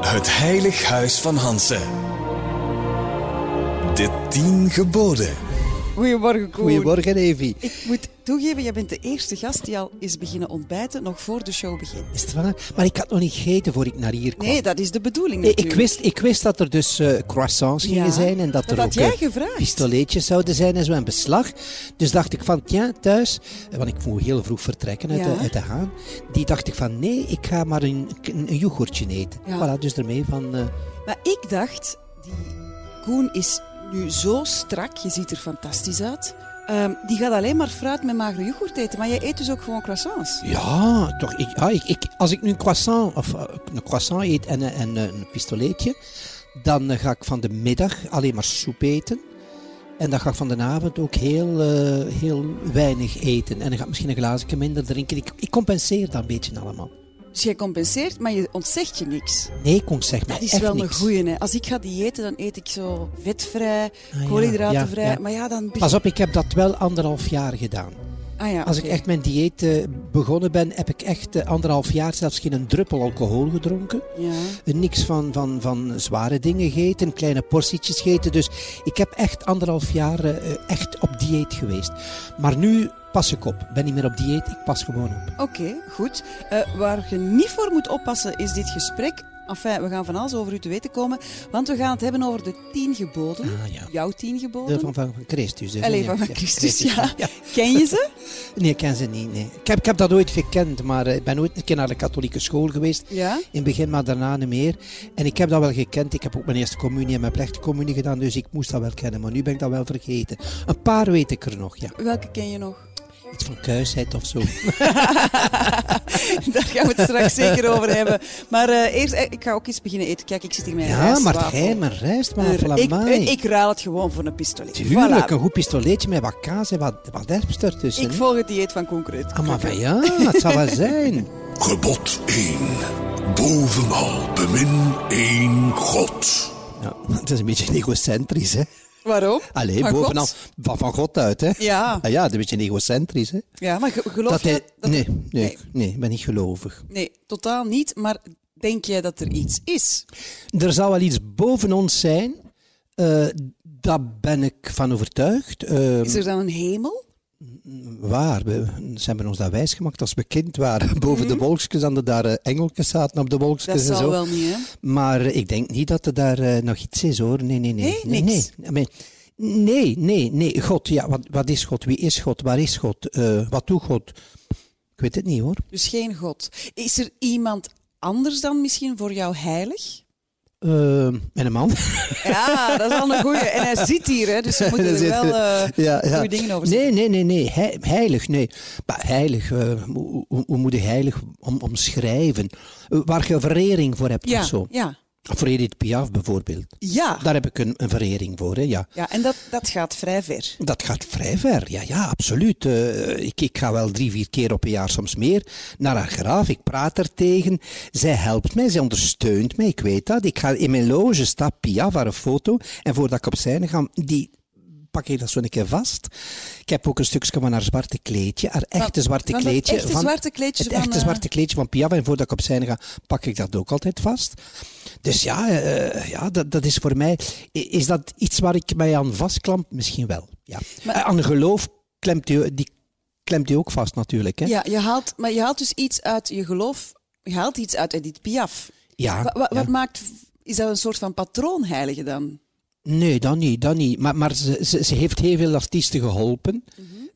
Het Heilig Huis van Hansen. De tien geboden. Goedemorgen, Koen. Goedemorgen, Evi. Ik moet toegeven, jij bent de eerste gast die al is beginnen ontbijten, nog voor de show begint. Is het waar? Maar ik had nog niet gegeten voor ik naar hier kwam. Nee, dat is de bedoeling Ik- natuurlijk. ik, wist, ik wist dat er dus eh, croissants gingen Ja, zijn en dat dat er had ook jij eh, gevraagd. pistoletjes zouden zijn en zo en beslag. Dus dacht ik van, ja, thuis, eh, want ik moet heel vroeg vertrekken uit, Ja. de, uit de haan. Die dacht ik van, nee, ik ga maar een, een, een yoghurtje eten. Ja. Voilà, dus daarmee van... eh, Maar ik dacht, die Koen is nu zo strak, je ziet er fantastisch uit. Ehm, die gaat alleen maar fruit met magere yoghurt eten, maar jij eet dus ook gewoon croissants. Ja, toch. Ik, ja, ik, ik- als ik nu een croissant, of eh, een croissant eet en, een- en eh, een pistoletje, dan eh, ga ik van de middag alleen maar soep eten. En dan ga ik van de avond ook heel, eh, heel weinig eten. En dan ga ik misschien een glaasje minder drinken. Ik, ik compenseer dat een beetje allemaal. Dus jij compenseert, maar je ontzegt je niks. Nee, kom zeg maar. Dat is echt wel een niks. goeie, hè. Als ik ga diëten, dan eet ik zo vetvrij, Ah, ja, koolhydratenvrij. ja, ja. Maar ja, dan... Pas op, ik heb dat wel anderhalf jaar gedaan. Ah ja, Als oké. ik echt mijn dieet eh, begonnen ben, heb ik echt eh, anderhalf jaar zelfs geen druppel alcohol gedronken. Ja. niks van, van, van zware dingen gegeten, kleine portietjes gegeten. Dus ik heb echt anderhalf jaar eh, eh, echt op dieet geweest. Maar nu pas ik op. Ik ben niet meer op dieet, ik pas gewoon op. Oké, goed. Eh, waar je niet voor moet oppassen is dit gesprek. Enfin, we gaan van alles over u te weten komen, want we gaan het hebben over de tien geboden. Ah, ja. Jouw tien De geboden. van, van, van Christus. Dus, Allee, ja, van, van ja, Christus, ja. ja. Ken je ze? Nee, ik ken ze niet. Nee. Ik, heb, ik heb dat ooit gekend, maar eh, ik ben ooit een keer naar de katholieke school geweest. Ja. In het begin, maar daarna niet meer. En ik heb dat wel gekend. Ik heb ook mijn eerste communie en mijn plechtcommunie gedaan, dus ik moest dat wel kennen. Maar nu ben ik dat wel vergeten. Een paar weet ik er nog, ja. Welke ken je nog? Iets van kuisheid of zo. Daar gaan we het straks zeker over hebben. Maar eh, eerst, eh, ik ga ook iets beginnen eten. Kijk, ik zit hier met een Ja, rijstwafel. maar jij, mijn rijstwafel, Er- ik, eh, amai. ik ruil het gewoon voor een pistolet. Tuurlijk, Voilà. een goed pistoletje met wat kaas en wat, wat herfst ertussen. Ik hè? volg het dieet van Koen Kruid. Ah, maar van ja, het zal wel zijn. Gebod 1. Bovenal bemin één God. Ja, het is een beetje egocentrisch, hè. Waarom? Allee, Van bovenal God? van, van God uit, hè. Ja. Ah, ja, het is een beetje egocentrisch, hè. Ja, maar ge- geloof Dat jij... hij, dat- nee, nee, Nee. nee, ik ben niet gelovig. nee, totaal niet. Maar denk jij dat er iets is? Er zal wel iets boven ons zijn, eh, daar ben ik van overtuigd. Eh, Is er dan een hemel? Waar? We, ze hebben ons dat wijsgemaakt als we kind waren. Boven de wolkjes en er daar eh, engeltjes zaten op de Dat wolkjes en zal zo. wel niet, hè? Maar eh, ik denk niet dat er daar eh, nog iets is hoor. Nee, nee, nee. Nee, niks. Nee, nee. nee, nee, nee. God, ja, wat, wat is God? Wie is God? Waar is God? Eh, wat doet God? Ik weet het niet hoor. Dus geen God. Is er iemand anders dan misschien voor jou heilig? Eh, en een man. Ja, dat is al een goeie. En hij zit hier, hè, dus we moeten er Daar wel zit- eh ja, ja. goede dingen over zeggen. Nee, nee, nee, nee. He- heilig, nee. Maar heilig, eh, hoe, hoe- hoe moet je heilig om, omschrijven? Eh, waar je verering voor hebt Ja, of zo. ja. Voor Edith Piaf bijvoorbeeld. Ja. Daar heb ik een, een verering voor, hè, ja. ja, en dat, dat gaat vrij ver. Dat gaat vrij ver, ja, ja, absoluut. Eh, ik, ik ga wel drie, vier keer op een jaar, soms meer, naar haar graaf. Ik praat er tegen. Zij helpt mij, zij ondersteunt mij, ik weet dat. Ik ga in mijn loge staat Piaf, haar foto. En voordat ik op scène ga, die pak ik dat zo een keer vast. Ik heb ook een stukje van haar zwarte kleedje, haar echte zwarte van dat kleedje. echte zwarte kleedje Het van, echte eh, zwarte kleedje van Piaf. En voordat ik op scène ga, pak ik dat ook altijd vast. Dus ja, eh, ja dat, dat is voor mij... i- Is dat iets waar ik mij aan vastklamp? Misschien wel, ja. Maar- Eh, aan geloof klemt u, die klemt u ook vast natuurlijk, hè? eh, Ja, je haalt, maar je haalt dus iets uit je geloof. Je haalt iets uit Edith Piaf. Ja, Wa- wa- ja. Wat maakt... Is dat een soort van patroonheilige dan? Nee, dat niet, dat niet. Maar, maar ze, ze, ze heeft heel veel artiesten geholpen.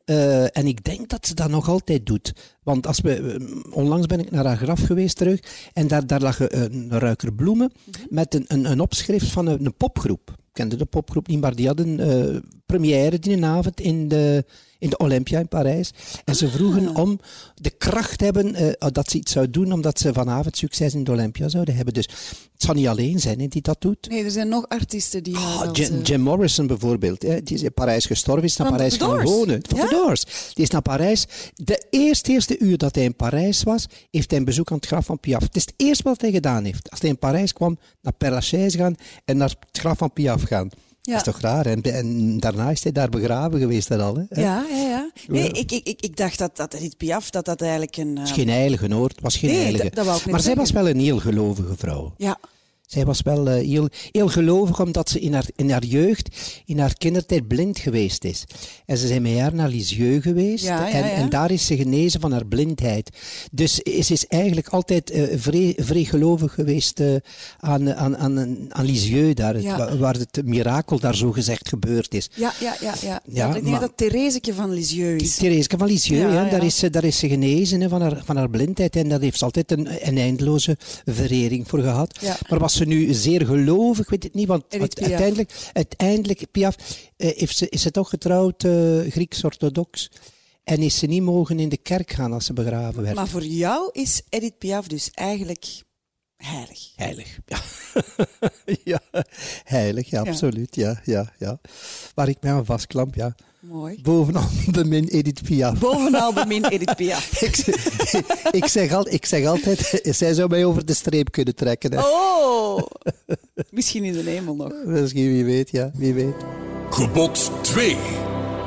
Eh, en ik denk dat ze dat nog altijd doet. Want als we, eh, onlangs ben ik naar haar graf geweest terug. En daar, daar lag een ruiker bloemen met een, een, een opschrift van een, een popgroep. Ik kende de popgroep niet, maar die hadden eh première die avond in de, in de Olympia in Parijs. En ze vroegen om de kracht hebben eh, dat ze iets zou doen, omdat ze vanavond succes in de Olympia zouden hebben. Dus het zal niet alleen zijn hè, die dat doet. Nee, er zijn nog artiesten die... haar Ah, dat, Jim, eh, Jim Morrison bijvoorbeeld, hè, die is in Parijs gestorven, is naar Van Parijs The gaan Doors, wonen. Van ja? de Doors. Die is naar Parijs. De eerste, eerste uur dat hij in Parijs was, heeft hij een bezoek aan het graf van Piaf. Het is het eerste wat hij gedaan heeft. Als hij in Parijs kwam, naar Père Lachaise gaan en naar het graf van Piaf gaan. Ja. Dat is toch raar? En, en daarna is hij daar begraven geweest en al. Hè? Het Ja, ja, ja. Nee, ik, ik, ik, ik dacht dat, dat Edith Piaf, dat dat eigenlijk een... eh, is geen heilige hoor, het was geen Nee, heilige. dat- dat wou ik net maar zij was zeggen. wel een heel gelovige vrouw. ja, Zij was wel eh, heel, heel gelovig omdat ze in haar, in haar jeugd, in haar kindertijd blind geweest is. En ze zijn met haar naar Lisieux geweest Ja, ja, en, ja. en daar is ze genezen van haar blindheid. Dus ze is eigenlijk altijd eh vrij, vrij gelovig geweest eh, aan, aan, aan, aan Lisieux, daar, het- Ja. wa- waar het mirakel daar zo gezegd gebeurd is. Ja, ja, ja. ja. Ja, ik denk maar- dat Theresieke van Lisieux is. Therese van Lisieux, Ja, hè, ja. Daar, is ze, daar is ze genezen hè, van, haar, van haar blindheid. En daar heeft ze altijd een, een eindeloze verering voor gehad. Ja. Maar was ze nu zeer gelovig, weet ik niet. Want Edith uite- Piaf. uiteindelijk, uiteindelijk Piaf, eh, heeft ze, is ze toch getrouwd eh, Grieks-orthodox. En is ze niet mogen in de kerk gaan als ze begraven werd. Maar voor jou is Edith Piaf dus eigenlijk heilig. Heilig. Ja. ja, heilig, ja, Ja. absoluut. Ja, ja, ja. Waar ik mij aan vastklamp, ja. Mooi. Bovenal de min Edith Piaf. Bovenal bemin Edith Piaf. ik, ik, zeg al, ik zeg altijd, zij zou mij over de streep kunnen trekken. Hè. Oh! Misschien in de hemel nog. Misschien, wie weet, ja, wie weet. Gebod 2.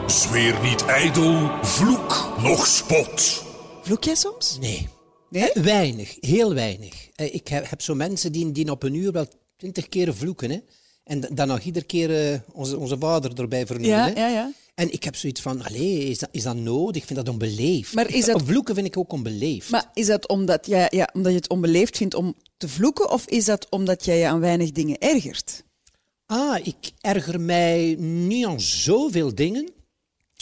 Zweer niet ijdel, vloek nog spot. Vloek jij soms? Nee. Eh, Nee? Weinig, heel weinig. Eh, Ik heb, heb zo mensen die, die op een uur wel twintig keer vloeken. Hè. En da- dan nog iedere keer eh, onze, onze vader erbij vernoemen. Ja, hè. ja, ja. En ik heb zoiets van, allee, is dat, is dat nodig? Ik vind dat onbeleefd. Maar is dat- Vloeken vind ik ook onbeleefd. Maar is dat omdat, jij, ja, omdat je het onbeleefd vindt om te vloeken, of is dat omdat jij je aan weinig dingen ergert? Ah, ik erger mij niet aan zoveel dingen.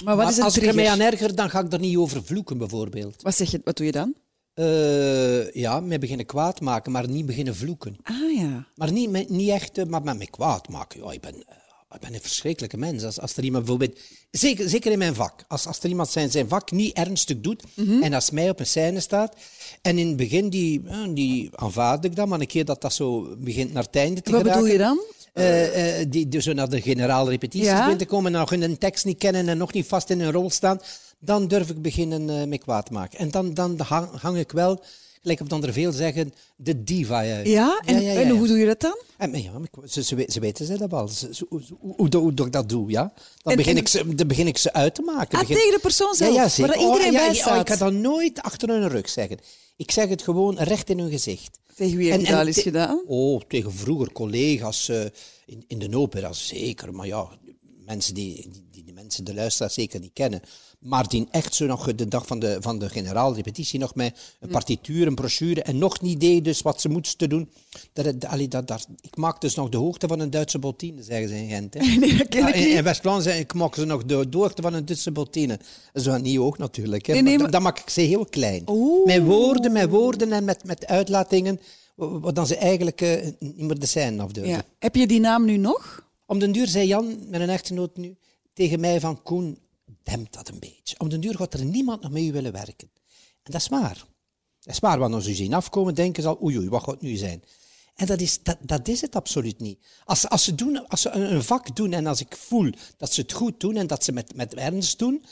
Maar wat Maar is een als ik er mij trigger? aan erger, dan ga ik er niet over vloeken, bijvoorbeeld. Wat zeg je? Wat doe je dan? Eh, ja, mij beginnen kwaad maken, maar niet beginnen vloeken. Ah ja. Maar niet, met- niet echt, eh, maar met me kwaad maken. Ja, ik, ben, eh, ik ben een verschrikkelijke mens. Als, als er iemand bijvoorbeeld, zeker, zeker in mijn vak, als, als er iemand zijn, zijn vak niet ernstig doet en als mij op een scène staat. En in het begin die, eh, die aanvaard ik dat, maar een keer dat dat zo begint naar het einde te Wat geraken, bedoel je dan? eh, eh, die, die zo naar de generaal repetities Ja? begint te komen, nog hun tekst niet kennen en nog niet vast in hun rol staan, dan durf ik beginnen eh mee kwaad maken. En dan, dan hang, hang ik wel, gelijk of dan er veel zeggen, de diva uit. Ja? En, en hoe doe je dat dan? En, maar ja, maar ik- ze, ze, we- ze weten ze dat wel. Ze- ze- hoe, hoe, hoe, hoe dat ik dat doe, ja. Dan, En- begin, en- ik ze, dan begin ik ze uit te Ah, maken. Begin- tegen de persoon zelf, Ja, ja, waar zeker. dat iedereen oh, ja, bij ja, staat. oh, ik ga dat nooit achter hun rug zeggen. Ik zeg het gewoon recht in hun gezicht. Tegen wie heb je dat al eens te- gedaan? Oh, tegen vroeger collega's eh, in, in de opera, zeker. Maar ja, mensen die, die, die de mensen, de luisteraars zeker niet kennen. Maar die echt zo nog de dag van de, van de generaalrepetitie nog met een partituur, een brochure en nog niet deed dus wat ze moesten doen. Dat, het- allee, dat, dat, ik maak dus nog de hoogte van een Duitse bottine, zeggen ze in Gent. Hè. Nee, dat ken Ja, ik Ah, in niet. in West-Vlaanderen zijn- ik maak ze nog de, de hoogte van een Duitse bottine. Zo niet ook natuurlijk. Hè. Nee, nee, Maar maar- dan maak ik ze heel klein. Met woorden, met woorden en met, met uitlatingen. wa- wa- Wat dan ze eigenlijk eh, niet meer de scène afdurven. Ja. Heb je die naam nu nog? Om den duur zei Jan, mijn echtgenoot nu, tegen mij van Koen, dempt dat een beetje. Om den duur gaat er niemand nog mee willen werken. En dat is waar. Dat is waar, want als u zien afkomen, denken ze al, oei, oei, wat gaat het nu zijn? En dat is, dat, dat is het absoluut niet. Als, ze- als ze, doen, als ze een, een vak doen en als ik voel dat ze het goed doen en dat ze met, met ernst doen,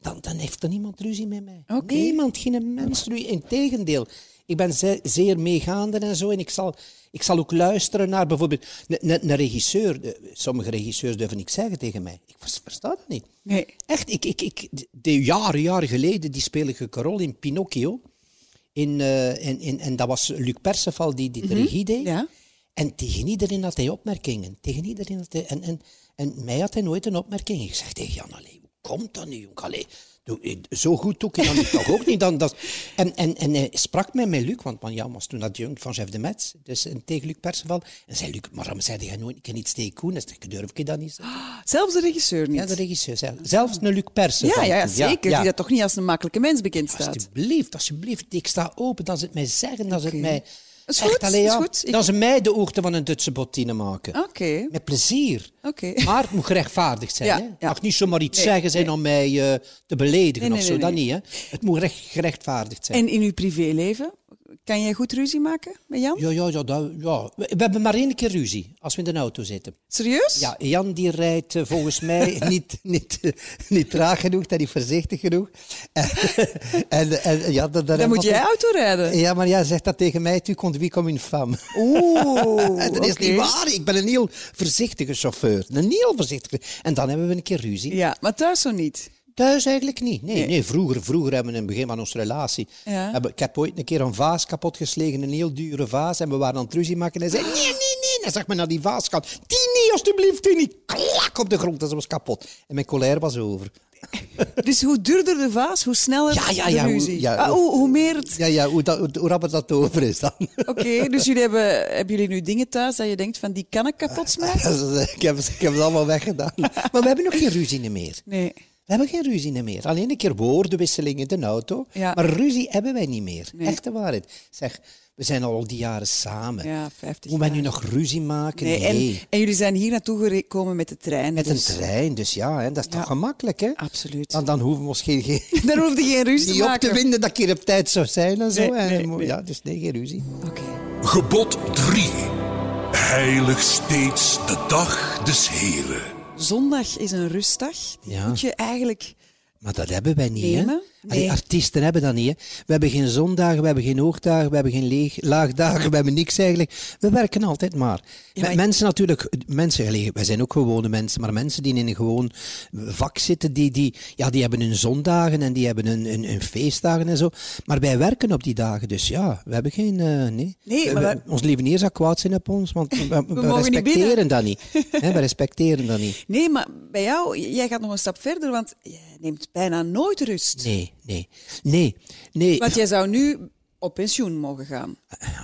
dan, dan heeft er niemand ruzie met mij. Oké. Niemand, geen mens ruzie. Integendeel. Ik ben ze- zeer meegaande en zo. En ik zal, ik zal ook luisteren naar bijvoorbeeld een- een een regisseur. Eh, Sommige regisseurs durven niks zeggen tegen mij. Ik vers- versta dat niet. Nee. Echt, ik, ik, ik, de jaren, jaren geleden, die speel ik een rol in Pinocchio. In, eh, in, in, en dat was Luc Perceval die, die de regie deed. Ja. En tegen iedereen had hij opmerkingen. Tegen iedereen had hij, en, en, en mij had hij nooit een opmerking. Ik zeg tegen Jan, allee, hoe komt dat nu? jong? Allee, doe- eh, zo goed doe ik dat nu toch ook niet. Dan, dat, en, en, en hij sprak mij met Luc, want mijn Jan was toen adjunct van chef de Metz. Dus en tegen Luc Perceval. En zei Luc, maar waarom zei jij nooit, ik kan iets tegen Koen? Ik zeg, durf ik dat niet? zeggen? Zelfs de regisseur niet. Ja, de regisseur zelf. Zelfs een Luc Perceval. ja, ja, ja, zeker. Die dat toch niet als een makkelijke mens bekend staat. Alsjeblieft, alsjeblieft. Ik sta open. Dat ze het mij zeggen. Dat ze het Oké. mij... Is Echt, goed, allee, is ja. goed. Ik- Dat ze mij de oogten van een Duitse bottine maken. Oké. Met plezier. Oké. Maar het moet gerechtvaardigd zijn. Ja, hè? Het ja. mag niet zomaar iets Nee, zeggen zijn om mij eh, te Nee, beledigen nee, of zo. nee, dat nee. niet. Hè? Het moet recht, gerechtvaardigd zijn. En in uw privéleven? Kan jij goed ruzie maken met Jan? Ja, ja, ja, dat, ja. We, we hebben maar één keer ruzie als we in de auto zitten. Serieus? Ja, Jan die rijdt eh, volgens mij niet, niet, niet traag genoeg, dat is voorzichtig genoeg. En, en, en, ja, dat, Dan moet jij autorijden. Ja, maar jij zegt dat tegen mij. Tu conduis comme une femme. Oeh. dat is oké. niet waar. Ik ben een heel voorzichtige chauffeur. Een heel voorzichtige. En dan hebben we een keer ruzie. Ja, maar thuis zo niet. Thuis eigenlijk niet. Nee, Nee. nee. vroeger, vroeger hebben we in het begin van onze relatie. Ja. hebben- ik heb ooit een keer een vaas kapotgeslagen, een heel dure vaas. En we waren aan het ruzie maken. En hij zei: Nee, nee, nee. En hij zag me naar die vaas gaan. Die niet, alstublieft, die niet. Klak op de grond, dat was kapot. En mijn colère was over. Dus hoe duurder de vaas, hoe sneller Ja, ja, de ja, hoe- ruzie. ja, Ah, hoe- hoe, hoe meer het... Ja, ja hoe, dat, hoe, hoe rapper dat over is dan. Oké, dus jullie hebben, hebben jullie nu dingen thuis dat je denkt van die kan ik kapot smijten? eh, ik, heb, ik heb het allemaal weggedaan. Maar we hebben nog geen ruzie meer. Nee. We hebben geen ruzie meer. Alleen een keer woordenwisseling in de auto. Ja. Maar ruzie hebben wij niet meer. Nee. Echte waarheid. Zeg, we zijn al die jaren samen. Ja, 50 Moet wij jaar. nu nog ruzie maken? nee Nee. en, en jullie zijn hier naartoe gekomen met de trein. Met een dus- trein, dus ja, hè, dat is Ja. toch gemakkelijk, hè? Absoluut. Dan, dan hoeven we ons geen, geen, Daar hoefde geen ruzie niet te op te maken. winden dat ik hier op tijd zou zijn en zo. Nee, En nee, mo- nee. Ja, dus nee, geen ruzie. Oké. Gebod 3. Heilig steeds de dag des Heren. Zondag is een rustdag. Die Ja. moet je eigenlijk... Maar dat hebben wij niet, Nemen? hè? Allee, Nee. artiesten hebben dat niet, hè? We hebben geen zondagen, we hebben geen hoogdagen, we hebben geen leeg, laagdagen, we hebben niks eigenlijk. We werken altijd maar. Met maar- Mensen natuurlijk, mensen, allee, wij zijn ook gewone mensen, maar mensen die in een gewoon vak zitten, die, die, ja, die hebben hun zondagen en die hebben hun, hun, hun feestdagen en zo. Maar wij werken op die dagen, dus ja, we hebben geen... eh, nee. Nee, maar We- wij- Ons lieveneer zou kwaad zijn op ons, want we, we mogen niet respecteren binnen. dat niet. hè? we respecteren dat niet. Nee, maar bij jou, j- jij gaat nog een stap verder, want jij neemt bijna nooit rust. Nee, nee, nee, nee. Want jij zou nu op pensioen mogen gaan.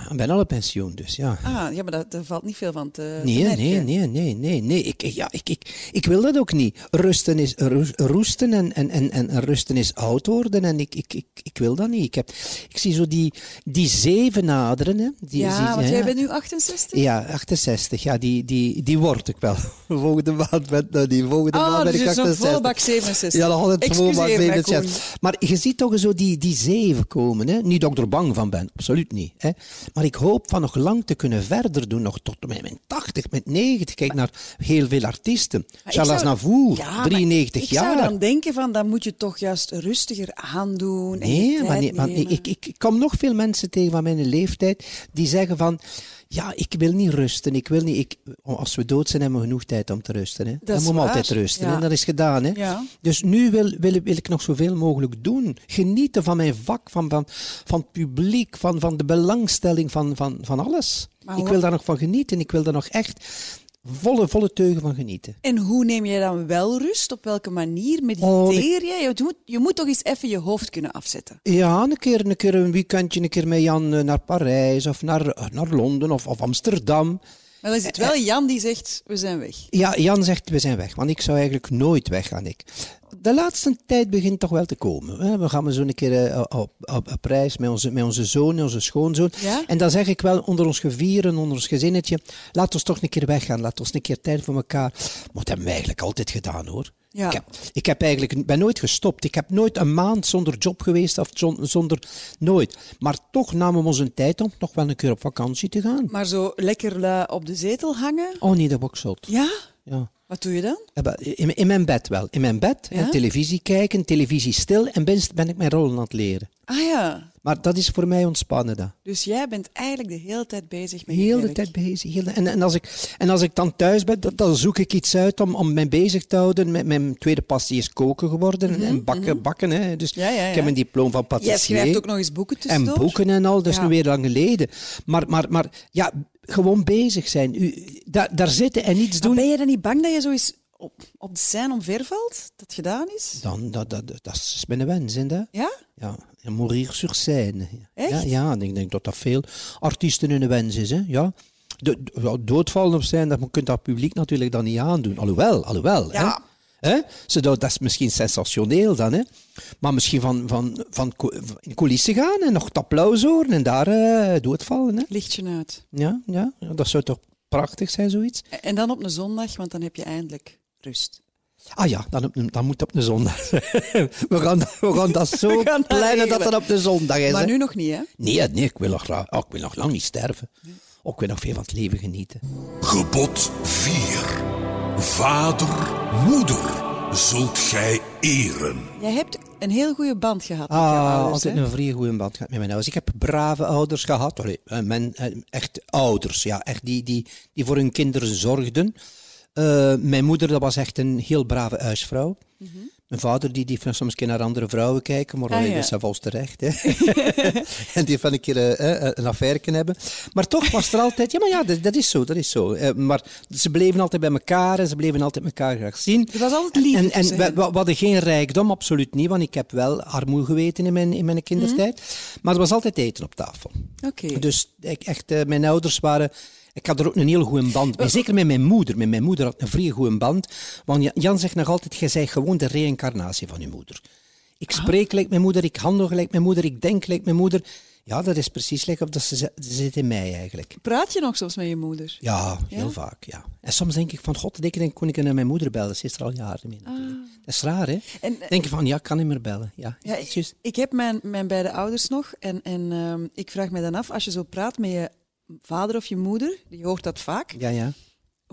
Ik ben al op pensioen, dus ja. Ah, ja, maar daar, daar valt niet veel van te te Nee, merken. nee, nee, nee, nee, nee. Ik, ik- ja, ik, ik, ik wil dat ook niet. Rusten is roes- roesten en, en, en, en rusten is oud worden. En ik, ik, ik, ik wil dat niet. Ik, heb, ik zie zo die, die zeven naderen. Hè. Die, zie- Ja, want jij ja. bent nu 68? Ja, 68. Ja, die, die, die word ik wel. Volgende maand, ben, nou, die volgende Oh, maand ben dus ik je is 68. nog volle bak 67. Ja, dan had het gewoon maar Excuseer mij, 67. Maar je ziet toch zo die, die zeven komen. Hè? Niet dat ik er bang van ben, absoluut niet. Hè? Maar ik hoop van nog lang te kunnen verder doen, nog tot mijn mijn 80, met 90. Kijk naar heel veel artiesten. Maar ik Charles zou- Navour, Ja, maar 93 Ik zou jaar. dan denken van, dan moet je toch juist rustiger aandoen. en je Nee, tijd maar, nee, maar nemen. ik, ik, ik kom nog veel mensen tegen van mijn leeftijd die zeggen van... Ja, ik wil niet rusten. Ik wil niet, ik, oh, als we dood zijn, hebben we genoeg tijd om te rusten. Hè. Dan is moeten we waar, altijd rusten. ja. En dat is gedaan. Hè. Ja. Dus nu wil, wil, wil ik nog zoveel mogelijk doen. Genieten van mijn vak, van, van, van het publiek, van, van de belangstelling, van, van, van alles. Maar ik hoe- wil daar nog van genieten. Ik wil daar nog echt volle, volle teugen van genieten. En hoe neem je dan wel rust? Op welke manier Oh, mediteer je? Je moet, je moet toch eens even je hoofd kunnen afzetten. Ja, een keer, een keer een weekendje, een keer met Jan eh, naar Parijs of naar, eh, naar Londen of, of Amsterdam. Maar dan is het Eh, wel Jan die zegt, we zijn weg. Ja, Jan zegt we zijn weg, want ik zou eigenlijk nooit weggaan. Ik. De laatste tijd begint toch wel te komen. Hè? We gaan maar zo'n keer eh, op, op, op reis met onze, met onze zoon, onze schoonzoon. Ja? En dan zeg ik wel onder ons gevieren, onder ons gezinnetje, laat ons toch een keer weggaan, laat ons een keer tijd voor elkaar. Maar dat hebben we eigenlijk altijd gedaan hoor. Ja. Ik, heb, ik heb eigenlijk, ben nooit gestopt. Ik heb nooit een maand zonder job geweest of zon- zonder nooit. Maar toch namen we ons een tijd om nog wel een keer op vakantie te gaan. Maar zo lekker lui op de zetel hangen? Oh nee, dat was ik zot. Ja? Ja. Wat doe je dan? Ja, maar In, in mijn bed wel. In mijn bed, Ja? televisie kijken, televisie stil en best ben ik mijn rollen aan het leren. Ah ja, Maar dat is voor mij ontspannen dan. dus jij bent eigenlijk de hele tijd bezig met je Heel de werk. tijd bezig. Heel de- en, en, als ik, en als ik dan thuis ben, dan, dan zoek ik iets uit om, om mij bezig te houden. Mijn, mijn tweede passie is koken geworden en- en bakken. bakken hè. Dus Mhm, Ja, ja, ik ja. heb een diploma van Jij patissier. schrijft ook nog eens boeken En tussendoor. boeken en al, dat is Ja. nu weer lang geleden. Maar, maar, maar ja, gewoon bezig zijn. U, daar, daar zitten en niets doen. Maar ben je dan niet bang dat je zo eens op, op de scène omvervalt? Dat het gedaan is? Dan, dat, dat, dat is mijn wens, hè. dat. Ja? Ja, en mourir sur scène. Echt? Ja, ja, en ik denk dat dat veel artiesten hun wens is. Hè? Ja. De, de- ja, doodvallen op zijn, dat je kunt dat publiek natuurlijk dan niet aandoen. Alhoewel, alhoewel. Ja. Hè? Hè? Zo, dat, dat is misschien sensationeel dan. Hè? Maar misschien van, van, van, co- in coulissen gaan en nog het applaus horen en daar eh, doodvallen. Hè? Lichtje uit. Ja, ja, ja, dat zou toch prachtig zijn, zoiets? En- En dan op een zondag, want dan heb je eindelijk rust. Ah ja, dan, op, een- dan moet het op de zondag. zijn. we, gaan, we gaan dat zo We gaan dat plannen dat regelen. dat op de zondag is. Maar hè. nu nog niet, hè? Nee, nee, ik wil nog, gra- oh, ik wil nog lang niet sterven. Ook ik wil nog veel van het leven genieten. Gebod 4. Vader, moeder, zult gij eren. Jij hebt een heel goede band gehad met jouw Ah, ouders, altijd hè? een vrij goede band gehad met mijn ouders. Ik heb brave ouders gehad. Allee, eh, men, eh, echt ouders, ja. Echt die, die, die voor hun kinderen zorgden. Eh, mijn moeder dat was echt een heel brave huisvrouw. Mijn vader die, die van soms een keer naar andere vrouwen kijken, maar Mhm. Ah, alleen ja. dat is zelfs terecht. Hè. en die van een keer eh, eh, een affaire kunnen hebben. Maar toch was er altijd, ja maar ja, dat, dat is zo, dat is zo. Eh, maar ze bleven altijd bij elkaar en ze bleven altijd elkaar graag zien. Er was altijd dus, liefde En, en tussen we, hen. we- we hadden geen rijkdom, absoluut niet, want ik heb wel armoede geweten in mijn, in mijn kindertijd. Mhm. Maar er was altijd eten op tafel. Oké. Dus ik, echt, eh, mijn ouders waren. Ik had er ook een heel goede band Eh, mee. Zeker met mijn moeder. Met mijn moeder had ik een vrij goede band. Want Ja- Jan zegt nog altijd: jij bent gewoon de reïncarnatie van je moeder. Ah. Ik spreek gelijk mijn moeder, ik handel gelijk mijn moeder, ik denk gelijk mijn moeder. Ja, dat is precies gelijk op dat ze, ze zit in mij eigenlijk. Praat je nog soms met je moeder? Ja, heel Ja? vaak, ja. En soms denk ik van, god, denk ik, kon ik naar mijn moeder bellen? Ze is er al jaren mee natuurlijk. Dat is raar, hè? Ah. En, eh, denk je van, ja, ik kan niet meer bellen. Ja, Ja, is juist. ik, ik heb mijn, mijn beide ouders nog. En, en ehm, ik vraag me dan af, als je zo praat met je vader of je moeder, je hoort dat vaak, ja. ja.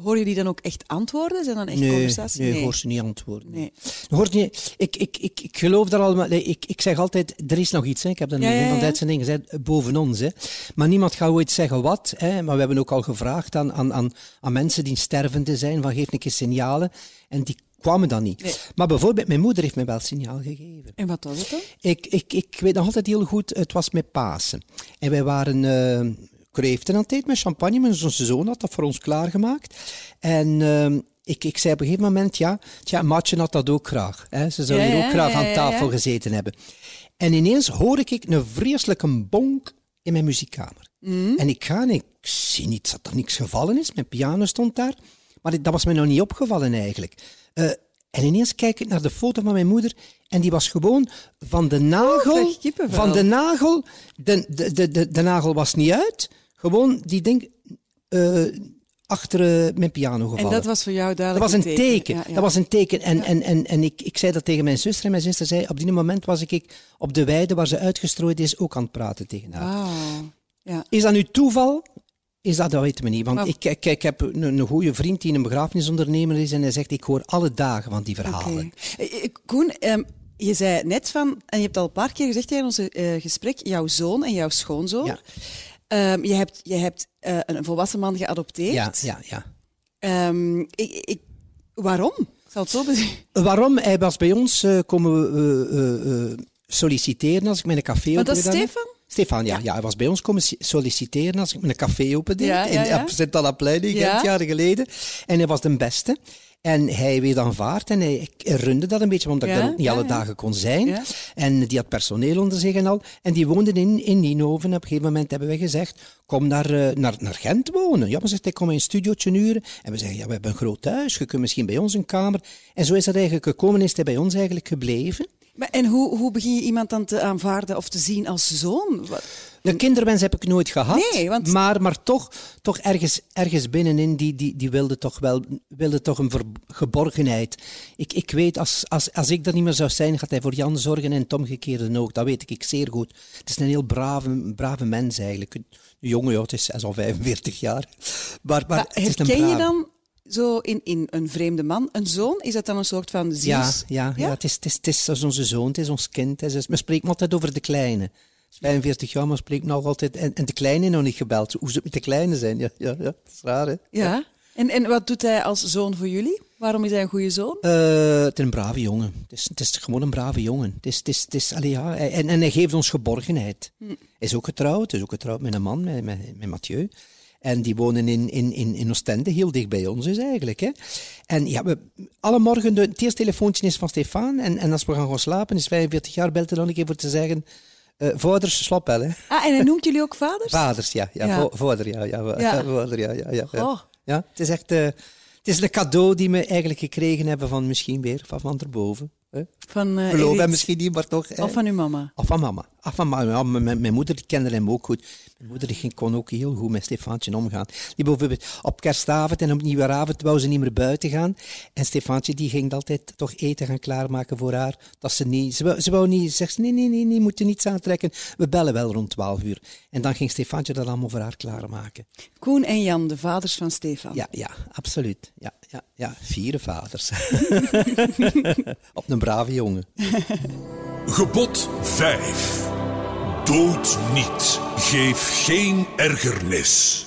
hoor je die dan ook echt antwoorden? Zijn dan echt nee, conversaties? nee, hoor ze niet antwoorden. Nee. Hoort niet, ik, ik, ik, ik geloof daar allemaal. nee, Ik, ik zeg altijd, er is nog iets. Hè. Ik heb dat in Ja, een ja, van de ja. uitzendingen gezegd, eh, boven ons. Hè. Maar niemand gaat ooit zeggen wat. Hè. Maar we hebben ook al gevraagd aan, aan, aan, aan mensen die stervende zijn, van geef een keer signalen. En die kwamen dan niet. Nee. Maar bijvoorbeeld, mijn moeder heeft mij wel een signaal gegeven. En wat was het dan? Ik, ik, ik weet nog altijd heel goed, het was met Pasen. En wij waren eh kreeften aan het eten met champagne. Mijn zoon- zoon had dat voor ons klaargemaakt. En ehm, ik, ik zei op een gegeven moment, ja, tja, Maatje had dat ook graag. Hè. Ze zou Ja, hier ja, ook graag ja, ja, aan tafel ja. gezeten hebben. En ineens hoor ik een vreselijke bonk in mijn muziekkamer. Mm. En ik ga en ik zie niets, dat er niks gevallen is. Mijn piano stond daar. Maar ik- dat was mij nog niet opgevallen eigenlijk. Eh, en ineens kijk ik naar de foto van mijn moeder. En die was gewoon van de nagel. krijg ik Oh, kippenvel. van de nagel. De, de, de, de, de nagel was niet uit. Gewoon die ding eh, achter eh, mijn piano gevallen. En dat was voor jou Dat duidelijk was een teken. Ja, ja. Dat was een teken. En, en, en, en ik, ik zei dat tegen mijn zuster. En mijn zuster zei, op die moment was ik- ik op de weide waar ze uitgestrooid is ook aan het praten tegen Ah. haar. Wauw. Ja. Is dat nu toeval? Is dat, dat weten we niet. Want Maar- ik, ik, ik heb een, een goede vriend die een begrafenisondernemer is. En hij zegt, ik hoor alle dagen van die verhalen. Oké. Eh, eh, Koen, ehm, je zei net van, en je hebt al een paar keer gezegd tijdens ons eh, gesprek, jouw zoon en jouw schoonzoon. Ja. Ehm, je hebt, je hebt eh, een volwassen man geadopteerd. Ja, ja, ja. Ehm, ik, ik, waarom? Ik zal het zo bezien. Waarom? Hij was bij ons eh, komen we, eh, eh, eh, solliciteren als ik mijn café Want dat is opende. Stefan? Stefan, ja, ja. Hij was bij ons komen si- solliciteren als ik mijn café opende. Ja, ja, ja. In op Sint-Anna-plein, in Ja. Gent, jaren geleden. En hij was de beste. En hij werd aanvaard en hij hij runde dat een beetje, omdat Ja, ik daar ook niet ja, alle ja. dagen kon zijn. Ja. En die had personeel onder zich en al. En die woonden in, in Nienhoven. En op een gegeven moment hebben wij gezegd, kom naar, eh, naar, naar Gent wonen. Ja, maar zegt hij, kom in een studiootje huren. En we zeggen, ja, we hebben een groot huis, je kunt misschien bij ons een kamer. En zo is dat eigenlijk gekomen, is hij bij ons eigenlijk gebleven. Maar, en hoe, hoe begin je iemand dan te aanvaarden of te zien als zoon? Wat- De kinderwens heb ik nooit gehad. Nee, want- Maar, maar toch, toch ergens, ergens binnenin, die, die, die wilde toch wel wilde toch een ver- geborgenheid. Ik, ik weet, als, als, als ik er niet meer zou zijn, gaat hij voor Jan zorgen en het omgekeerde ook. Dat weet ik, ik zeer goed. Het is een heel brave, brave mens eigenlijk. Een jongen, ja, het is 6 of 45 jaar. Maar, maar, Maar het is een herken je brave. dan zo in, in een vreemde man een zoon? Is dat dan een soort van zus? Ja, ja, ja? het, is, het, is, het is als onze zoon, het is ons kind. Het is, men spreekt me altijd over de kleine. Het is 45 jaar, maar spreekt nog altijd. En, en de kleine nog niet gebeld. Hoe zou het met de kleine zijn? Ja, ja, ja. Dat is raar, hè? Ja. En, en wat doet hij als zoon voor jullie? Waarom is hij een goede zoon? Eh, het is een brave jongen. Het is, het is gewoon een brave jongen. Het is, het is, het is, allee, ja, hij- en, en hij geeft ons geborgenheid. Hij is ook getrouwd. Hij is ook getrouwd met een man, met, met, met Mathieu. En die wonen in, in, in, in Oostende, heel dicht bij ons is eigenlijk. Hè. En ja, we, alle morgen, de, het eerste telefoontje is van Stefan. En, en als we gaan gaan slapen, is 45 jaar, belt hij dan een keer voor te zeggen... eh vaders, slap wel, hè. Ah, en hij noemt jullie ook vaders? Vaders, ja. ja, Ja. vo- Vader, ja. ja, wa- Ja. Oh. Vader, ja, ja, ja, ja. Goh. Ja, het is echt... eh, het is een cadeau die we eigenlijk gekregen hebben van misschien weer, van van erboven. Hè? Van, eh, Geloof Edith. hem misschien niet, maar toch... hè. Of van uw mama. Of van mama. Of van mama. Ja, mijn, mijn- mijn moeder die kende hem ook goed. Mijn moeder die ging- kon ook heel goed met Stefaantje omgaan. Die bijvoorbeeld op kerstavond en op nieuwjaaravond wou ze niet meer buiten gaan. En Stefaantje die ging altijd toch eten gaan klaarmaken voor haar. Dat ze niet... Ze wou, ze wou niet... Zegt ze, nee, nee, nee, nee, moet je niets aantrekken. We bellen wel rond 12 uur. En dan ging Stefaantje dat allemaal voor haar klaarmaken. Koen en Jan, de vaders van Stefan. Ja, ja, absoluut. Ja, ja, ja. Vier vaders. op een brave jongen. Gebod 5. Dood niet. Geef geen ergernis.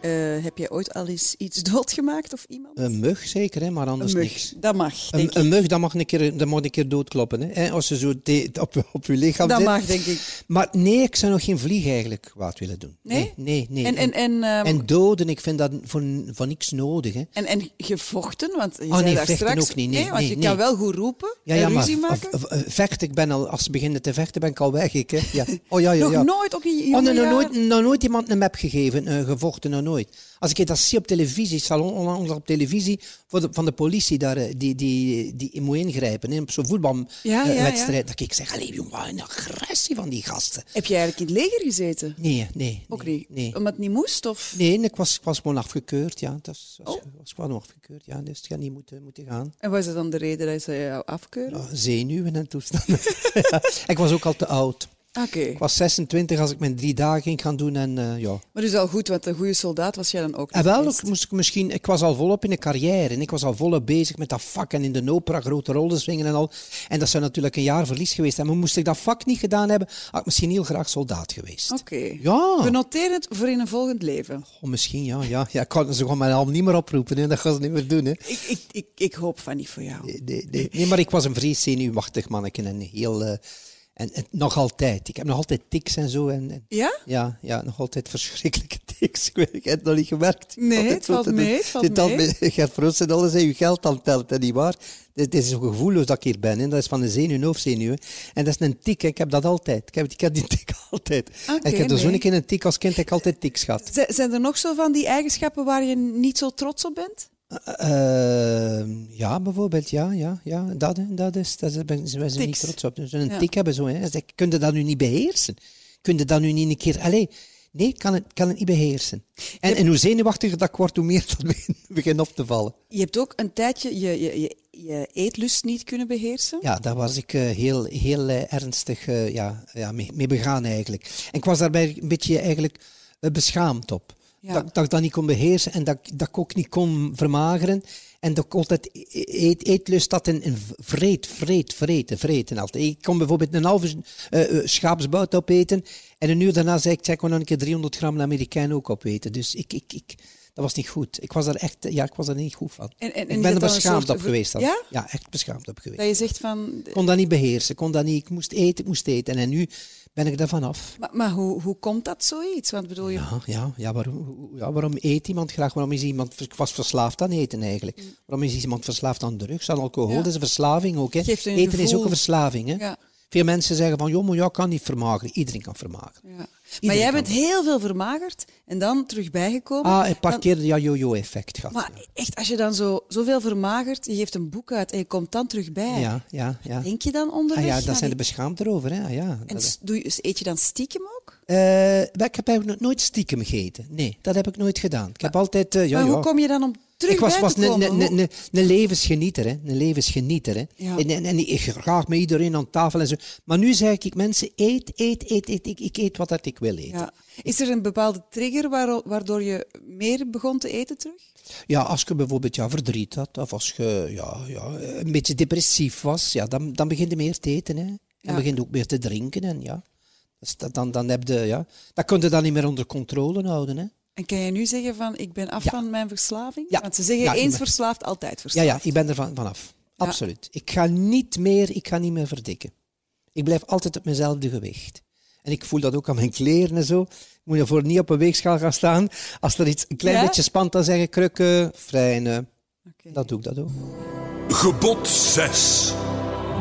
Eh, heb jij ooit al eens iets doodgemaakt of iemand? Een mug zeker, hè, maar anders Een mug. niks. Dat mag, denk Een, ik. een mug, dat mag een keer, dat mag een keer doodkloppen. Hè. hè, Als ze zo de- op, op je lichaam Dat zit. mag, denk ik. Maar nee, ik zou nog geen vlieg eigenlijk kwaad willen doen. Nee? Nee, nee. En, en, en, ehm, En doden, ik vind dat voor, voor niks nodig. Hè. en, en gevochten, want je Oh, zei nee, daar vechten straks... ook niet, nee, want nee, je nee. kan wel goed roepen Ja, en ja, maar ruzie maken. v- v- vechten, ik ben al, als ze beginnen te vechten, ben ik al weg. Ik, hè. Ja. Oh ja, ja, Nog ja. nooit, ook in je Oh, jonge nee, nog, nooit, jaren? nog nooit iemand een map gegeven, eh, gevochten, nog nooit. Als ik dat zie op televisie, ik zal on- onlangs op televisie voor de- van de politie daar, eh, die, die, die moet ingrijpen hè, op zo'n Ja, ja, voetbalwedstrijd. ja. wedstrijd Dat ik zeg, allee, jongen, wat een agressie van die gasten. Heb jij eigenlijk in het leger gezeten? Nee, nee. Ook nee, niet? Nee, Omdat het niet moest? Of? nee ik, was, ik was gewoon afgekeurd. Ja. Dat was, was, Oh. was gewoon afgekeurd, ja. Dus het gaat niet moeten, moeten gaan. En was dat dan de reden dat ze jou afkeuren? Ja, zenuwen en toestanden. Ja, Ik was ook al te oud. Oké. Ik was 26 als ik mijn drie dagen ging gaan doen. En, eh, ja. Maar dus al goed, want een goede soldaat was jij dan ook en niet Ah, wel, geweest. ik, moest ik, misschien, ik was al volop in een carrière. En ik was al volop bezig met dat vak. En in de opera grote rollen swingen en al. En dat zou natuurlijk een jaar verlies geweest zijn. Maar moest ik dat vak niet gedaan hebben, had ik misschien heel graag soldaat geweest. Oké. Ja, We noteren het voor in een volgend leven. Oh, misschien ja. ja, ja. Ik kan ze gewoon mijn naam niet meer oproepen. Hè. Dat gaan ze niet meer doen. Hè. Ik, ik, ik, ik hoop van niet voor jou. Nee, nee, nee. Nee, maar ik was een vrees zenuwachtig manneke. En, heel, eh, en, en nog altijd. Ik heb nog altijd tics en zo. En, en- Ja? Ja, ja, nog altijd verschrikkelijke tics. Ik weet- Ik heb het nog niet gemerkt. Nee, Altijd het valt goed te mee, doen. het valt Zit al mee. met- Gert Froos en alles zijn uw geld aan het tellen, hè, niet waar? Het is zo gevoelloos dat ik hier ben. Hè. Dat is van de zenuw en hoofdzenuw. hè. En dat is een tik. hè. Ik heb dat altijd. Ik heb, ik heb die tik altijd. Oké, en ik heb er zo'n nee. keer een tik als kind. heb Ik altijd tics gehad. Z- zijn er nog zo van die eigenschappen waar je niet zo trots op bent? Eh, ja, bijvoorbeeld, ja, ja, ja. Dat, hè, dat is, daar zijn ben- zijn we Tics. niet trots op. Dus een Ja. tik hebben zo. Hè. Zeg, kun je dat nu niet beheersen? Kun je dat nu niet een keer... Allee, nee, ik kan het, kan het niet beheersen. En, en hoe zenuwachtiger dat ik word, hoe meer dat begint- begint op te vallen. Je hebt ook een tijdje je, je, je, je eetlust niet kunnen beheersen. Ja, daar was ik eh, heel, heel eh, ernstig eh, ja, ja, mee, mee begaan eigenlijk. En ik was daarbij een beetje eigenlijk eh, beschaamd op. Ja. Dat, dat ik dat niet kon beheersen en dat, ik- dat ik ook niet kon vermageren. En dat ik altijd e, eet, eetlust had en, en vreet, vreet, vreten, vreten altijd. Ik kon bijvoorbeeld een halve eh, eh, schaapsbout opeten. En een uur daarna zei ik, zeg, ik wil nog een keer 300 gram een Amerikaan ook opeten. Dus ik, ik, ik, dat was niet goed. Ik was daar echt, eh, ja, ik was er niet goed van. En- en- en ik je ben hebt er dan een beschaamd soort op ver- geweest. dan. Ja? Ja, echt beschaamd op geweest Dat je zegt van... eh, kon dat niet beheersen. Kon dat niet, ik moest eten, ik moest eten. En nu ben ik daar vanaf. Maar, maar hoe, hoe komt dat zoiets? Want bedoel je... Ja, ja, ja, waarom, ja, waarom eet iemand graag? Waarom is iemand... Ik was verslaafd aan eten eigenlijk. Waarom is iemand verslaafd aan drugs, aan alcohol? Mm. Ja. Dat is een verslaving ook. Hè. Geeft een Eten is gevoel. ook een verslaving. Hè. Ja. Veel mensen zeggen van, joh, maar ja, ik kan niet vermageren. Iedereen kan vermageren. Ja. Maar jij kan bent heel veel vermagerd en dan terug bijgekomen. Ah, een paar keer ja, yo-yo-effect gehad. Maar echt, als je dan zo, zoveel vermagert, je geeft een boek uit en je komt dan terug bij. ja, ja, ja. Denk je dan onderweg? Ah, ja, naar daar zijn de die- beschaamd erover. Hè. Ah, ja, En dat- s- doe je, eet je dan stiekem ook? Eh, maar ik heb eigenlijk nog nooit stiekem gegeten. Nee, dat heb ik nooit gedaan. Ik heb altijd... eh, ja, maar ja. hoe kom je dan om terug Ik was, bij was te een, komen? een, Hoe- een, een, een levensgenieter, hè. Een levensgenieter, hè. Ja. En, en, en ik graag met iedereen aan tafel en zo. Maar nu zeg ik, mensen, eet, eet, eet, eet. Ik, ik eet wat dat ik wil eten. Ja. Ja. Is er een bepaalde trigger waaro- waardoor je meer begon te eten terug? als je bijvoorbeeld ja, verdriet had, of als je ja, ja, een beetje depressief was, ja, dan, dan begin je meer te eten, hè. Dan Ja. begin je ook meer te drinken, en ja. Dus dat, dan, dan heb je, ja... Dat kun je dan niet meer onder controle houden, hè. En kan je nu zeggen van ik ben af Ja. van mijn verslaving? Ja. Want ze zeggen Ja, ik eens ben- verslaafd, altijd Ja, verslaafd. ja, ik ben er van, vanaf. Ja. Absoluut. Ik ga niet meer, ik ga niet meer verdikken. Ik blijf altijd op mijnzelfde gewicht. En ik voel dat ook aan mijn kleren en zo. Ik moet ervoor niet op een weegschaal gaan staan. Als er iets een klein Ja? beetje spant, dan zeg ik krukken, vrijne. Oké. Dat doe ik, dat ook. Gebod 6.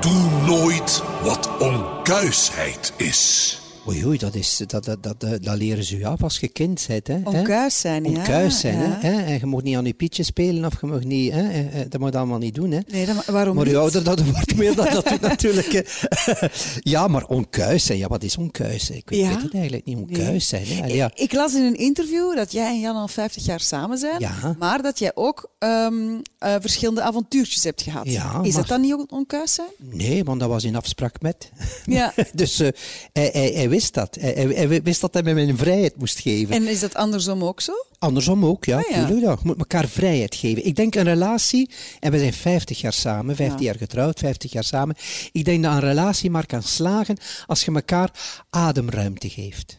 Doe nooit wat onkuisheid is. Oei, oei, dat, is, dat, dat, dat, eh, dat, dat leren ze u af als je kind bent. Hè? Onkuis zijn, ja. Onkuis zijn, Ja. hè? hè. En je mag niet aan je pietje spelen of je mag niet... Hè? eh, eh, Dat moet je allemaal niet doen, hè. Nee, dan, waarom Maar niet? hoe ouder dat je wordt, meer dat dat doet natuurlijk. hè. ja, maar onkuis zijn. Ja, wat is onkuis? zijn? Ik weet, Ja? weet het eigenlijk niet. Onkuis Nee. zijn. Hè? Allee, ja. Ik las in een interview dat jij en Jan al 50 jaar samen zijn, Ja. maar dat jij ook ehm, eh, verschillende avontuurtjes hebt gehad. Ja, Is maar- dat dan niet ook onkuis zijn? Nee, want dat was in afspraak met. Ja. dus eh, hij, hij, hij wist dat. Hij, hij- hij wist dat hij mij mijn vrijheid moest geven. En is dat andersom ook zo? Andersom ook, ja. Ah, ja. tuurlijk, ja. Je moet elkaar vrijheid geven. Ik denk een relatie, en we zijn 50 jaar samen, 15 jaar getrouwd, 50 jaar samen. Ik denk dat een relatie maar kan slagen als je elkaar ademruimte geeft.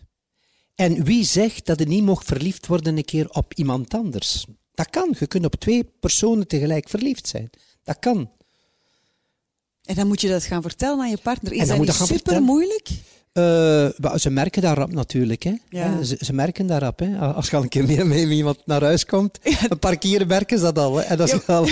En wie zegt dat je niet mocht verliefd worden een keer op iemand anders? Dat kan. Je kunt op twee personen tegelijk verliefd zijn. Dat kan. En dan moet je dat gaan vertellen aan je partner. Is En dat dan moet niet je gaan super vertellen. moeilijk? Eh, wel, ze merken dat rap natuurlijk. Hè. Eh, Ja. Ze, ze merken dat rap. Hè. Als je al een keer mee met iemand naar huis komt, een paar keer merken ze dat al. Hè. En als je al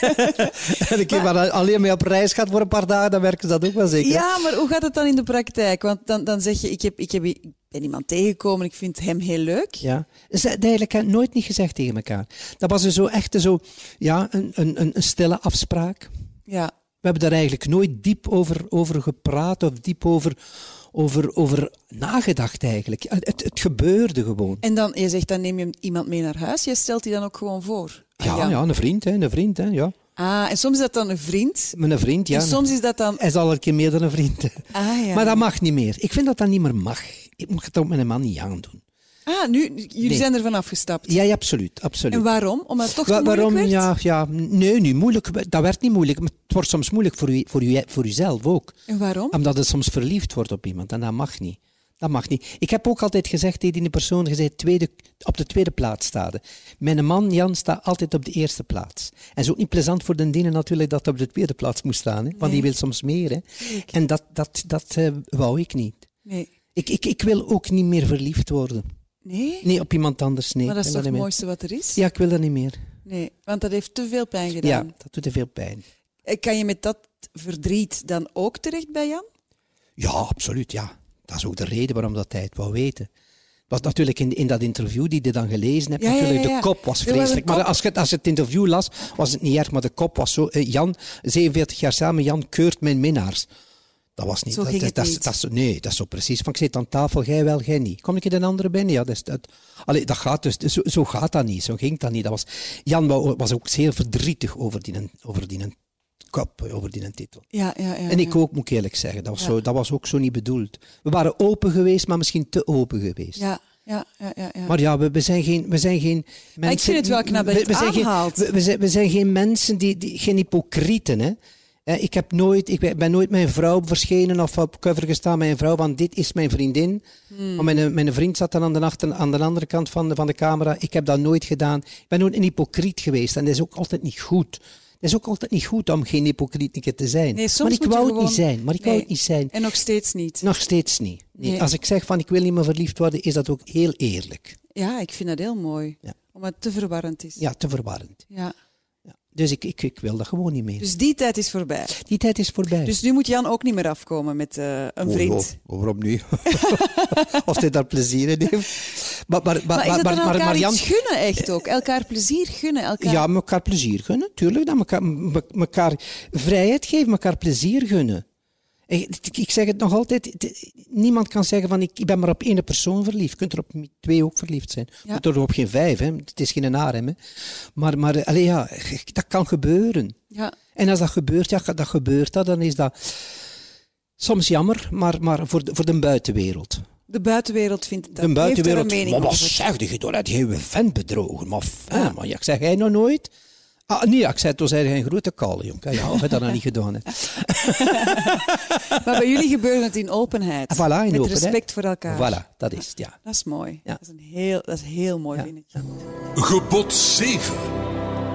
en een keer maar alleen mee op reis gaat voor een paar dagen, dan merken ze dat ook wel zeker. hè. Ja, maar hoe gaat het dan in de praktijk? Want dan, dan zeg je, ik, heb, ik, heb, ik ben iemand tegengekomen, ik vind hem heel leuk. Ja. Ze hebben eigenlijk eh, nooit niet gezegd tegen elkaar. Dat was er zo echt zo, ja, een, een, een een stille afspraak. Ja. We hebben daar eigenlijk nooit diep over, over gepraat of diep over, over, over nagedacht eigenlijk. Eh, Het, het gebeurde gewoon. En dan, je zegt, dan neem je iemand mee naar huis. Je stelt die dan ook gewoon voor. Ah, Ja, ja, een vriend, hè, een vriend, hè, ja. Ah, en soms is dat dan een vriend. Mijn vriend, ja. en soms is dat dan... Hij is al een keer meer dan een vriend. Ah, ja. Maar dat mag niet meer. Ik vind dat dat niet meer mag. Ik moet dat met een man niet aandoen. Ah, nu, jullie Nee. zijn ervan afgestapt. Ja, ja, absoluut. absoluut. En waarom? Omdat het toch Wa- te moeilijk werd? waarom? Ja, ja, nee, niet moeilijk. Dat werd niet moeilijk. Maar het wordt soms moeilijk voor, u, voor, u, voor uzelf ook. En waarom? Omdat het soms verliefd wordt op iemand. En dat mag niet. Dat mag niet. Ik heb ook altijd gezegd tegen die persoon, je zei tweede, op de tweede plaats staan. Mijn man Jan staat altijd op de eerste plaats. En het is ook niet plezant voor de dienen natuurlijk dat hij op de tweede plaats moet staan. Hè? Want die wil soms meer. Hè? En dat, dat, dat eh, wou ik niet. Nee. Ik, ik, ik wil ook niet meer verliefd worden. nee. Nee, op iemand anders. Nee. Maar dat is Ik toch wil het niet meer. mooiste wat er is? Ja, ik wil dat niet meer. Nee, want dat heeft te veel pijn Ja, gedaan. dat doet te veel pijn. En Kan je met dat verdriet dan ook terecht bij Jan? Ja, absoluut, ja. Dat is ook de reden waarom dat hij het wou weten. Was natuurlijk in, in dat interview die je dan gelezen hebt, Ja, ja, natuurlijk ja, ja. de kop was Ja, maar de vreselijk. Maar kop- als je, als je het interview las, was het niet erg, maar de kop was zo... eh, Jan, 47 jaar samen, Jan keurt mijn minnaars. Dat was niet... Zo dat, ging dat- het dat is- niet. dat is- nee, dat is zo precies. Van, ik zit aan tafel, jij wel, jij niet. Kom ik in een andere binnen? Ja, dat, is, dat, allee, dat gaat dus... Zo, zo gaat dat niet, zo ging dat niet. Dat was, Jan wou- was ook zeer verdrietig over die, over die kop, over die titel. Ja, ja, ja. En ja. ik ook, moet ik eerlijk zeggen. Dat was, zo, dat was ook zo niet bedoeld. We waren open geweest, maar misschien te open geweest. Ja, ja, ja, ja. ja. Maar ja, we, we zijn geen, we zijn geen mensen... vind het wel knap dat je het aanhaalt. Geen, we, we zijn, we zijn geen mensen, die, die, geen hypocrieten, hè. Eh, Ik, heb nooit, ik ben- ben nooit mijn vrouw verschenen of op cover gestaan met een vrouw, want dit is mijn vriendin. Hmm. Maar mijn, mijn vriend zat dan aan de, achter, aan de andere kant van de, van de camera. Ik heb dat nooit gedaan. Ik ben nooit een hypocriet geweest en dat is ook altijd niet goed. Het is ook altijd niet goed om geen hypocriet een keer te zijn. Nee, soms maar ik moet je wou het gewoon- niet zijn. Maar ik wou Nee. het niet zijn. En nog steeds niet. Nog steeds niet. Nee. Nee. Als ik zeg van ik wil niet meer verliefd worden, is dat ook heel eerlijk. Ja, ik vind dat heel mooi. Ja. Omdat het te verwarrend is. Ja, te verwarrend. Ja. Dus ik, ik, ik wil dat gewoon niet meer. Dus die tijd is voorbij. die tijd is voorbij. Dus nu moet Jan ook niet meer afkomen met eh, een Oh, vriend. oh, waarom nu? of hij daar plezier in heeft. Maar, maar, maar, Maar is maar, dat dan maar, maar elkaar Jan- iets gunnen echt ook? Elkaar plezier gunnen? Elkaar... Ja, elkaar plezier gunnen, tuurlijk. Dat elkaar, me- elkaar vrijheid geven, elkaar plezier gunnen. Ik, ik zeg het nog altijd, het- niemand kan zeggen van ik ik ben maar op één persoon verliefd. Je kunt er op twee ook verliefd zijn. Je Ja. kunt er op geen vijf, hè. het is geen harem. Hè. Maar, maar eh, allee, ja, dat kan gebeuren. Ja. En als dat gebeurt, ja, dat gebeurt dat, dan is dat soms jammer, maar, maar voor, de, voor de buitenwereld. De buitenwereld vindt het de Heeft er buitenwereld. een mening Maar wat over. zeg je door dat je vent bedrogen? Maar, fijn, maar ja, ik zeg jij nog nooit. Ah, nee, ja, ik zei toen zei hij een grote kale, jong. Ja, of hij dat nou niet gedaan heeft. Maar bij jullie gebeurt het in openheid. En Ah, voilà, in met openheid. respect voor elkaar. Voilà, dat is het, ja. Dat is mooi. Ja. Dat, is een heel, dat is heel mooi, Ja. vind ik. Gebod 7.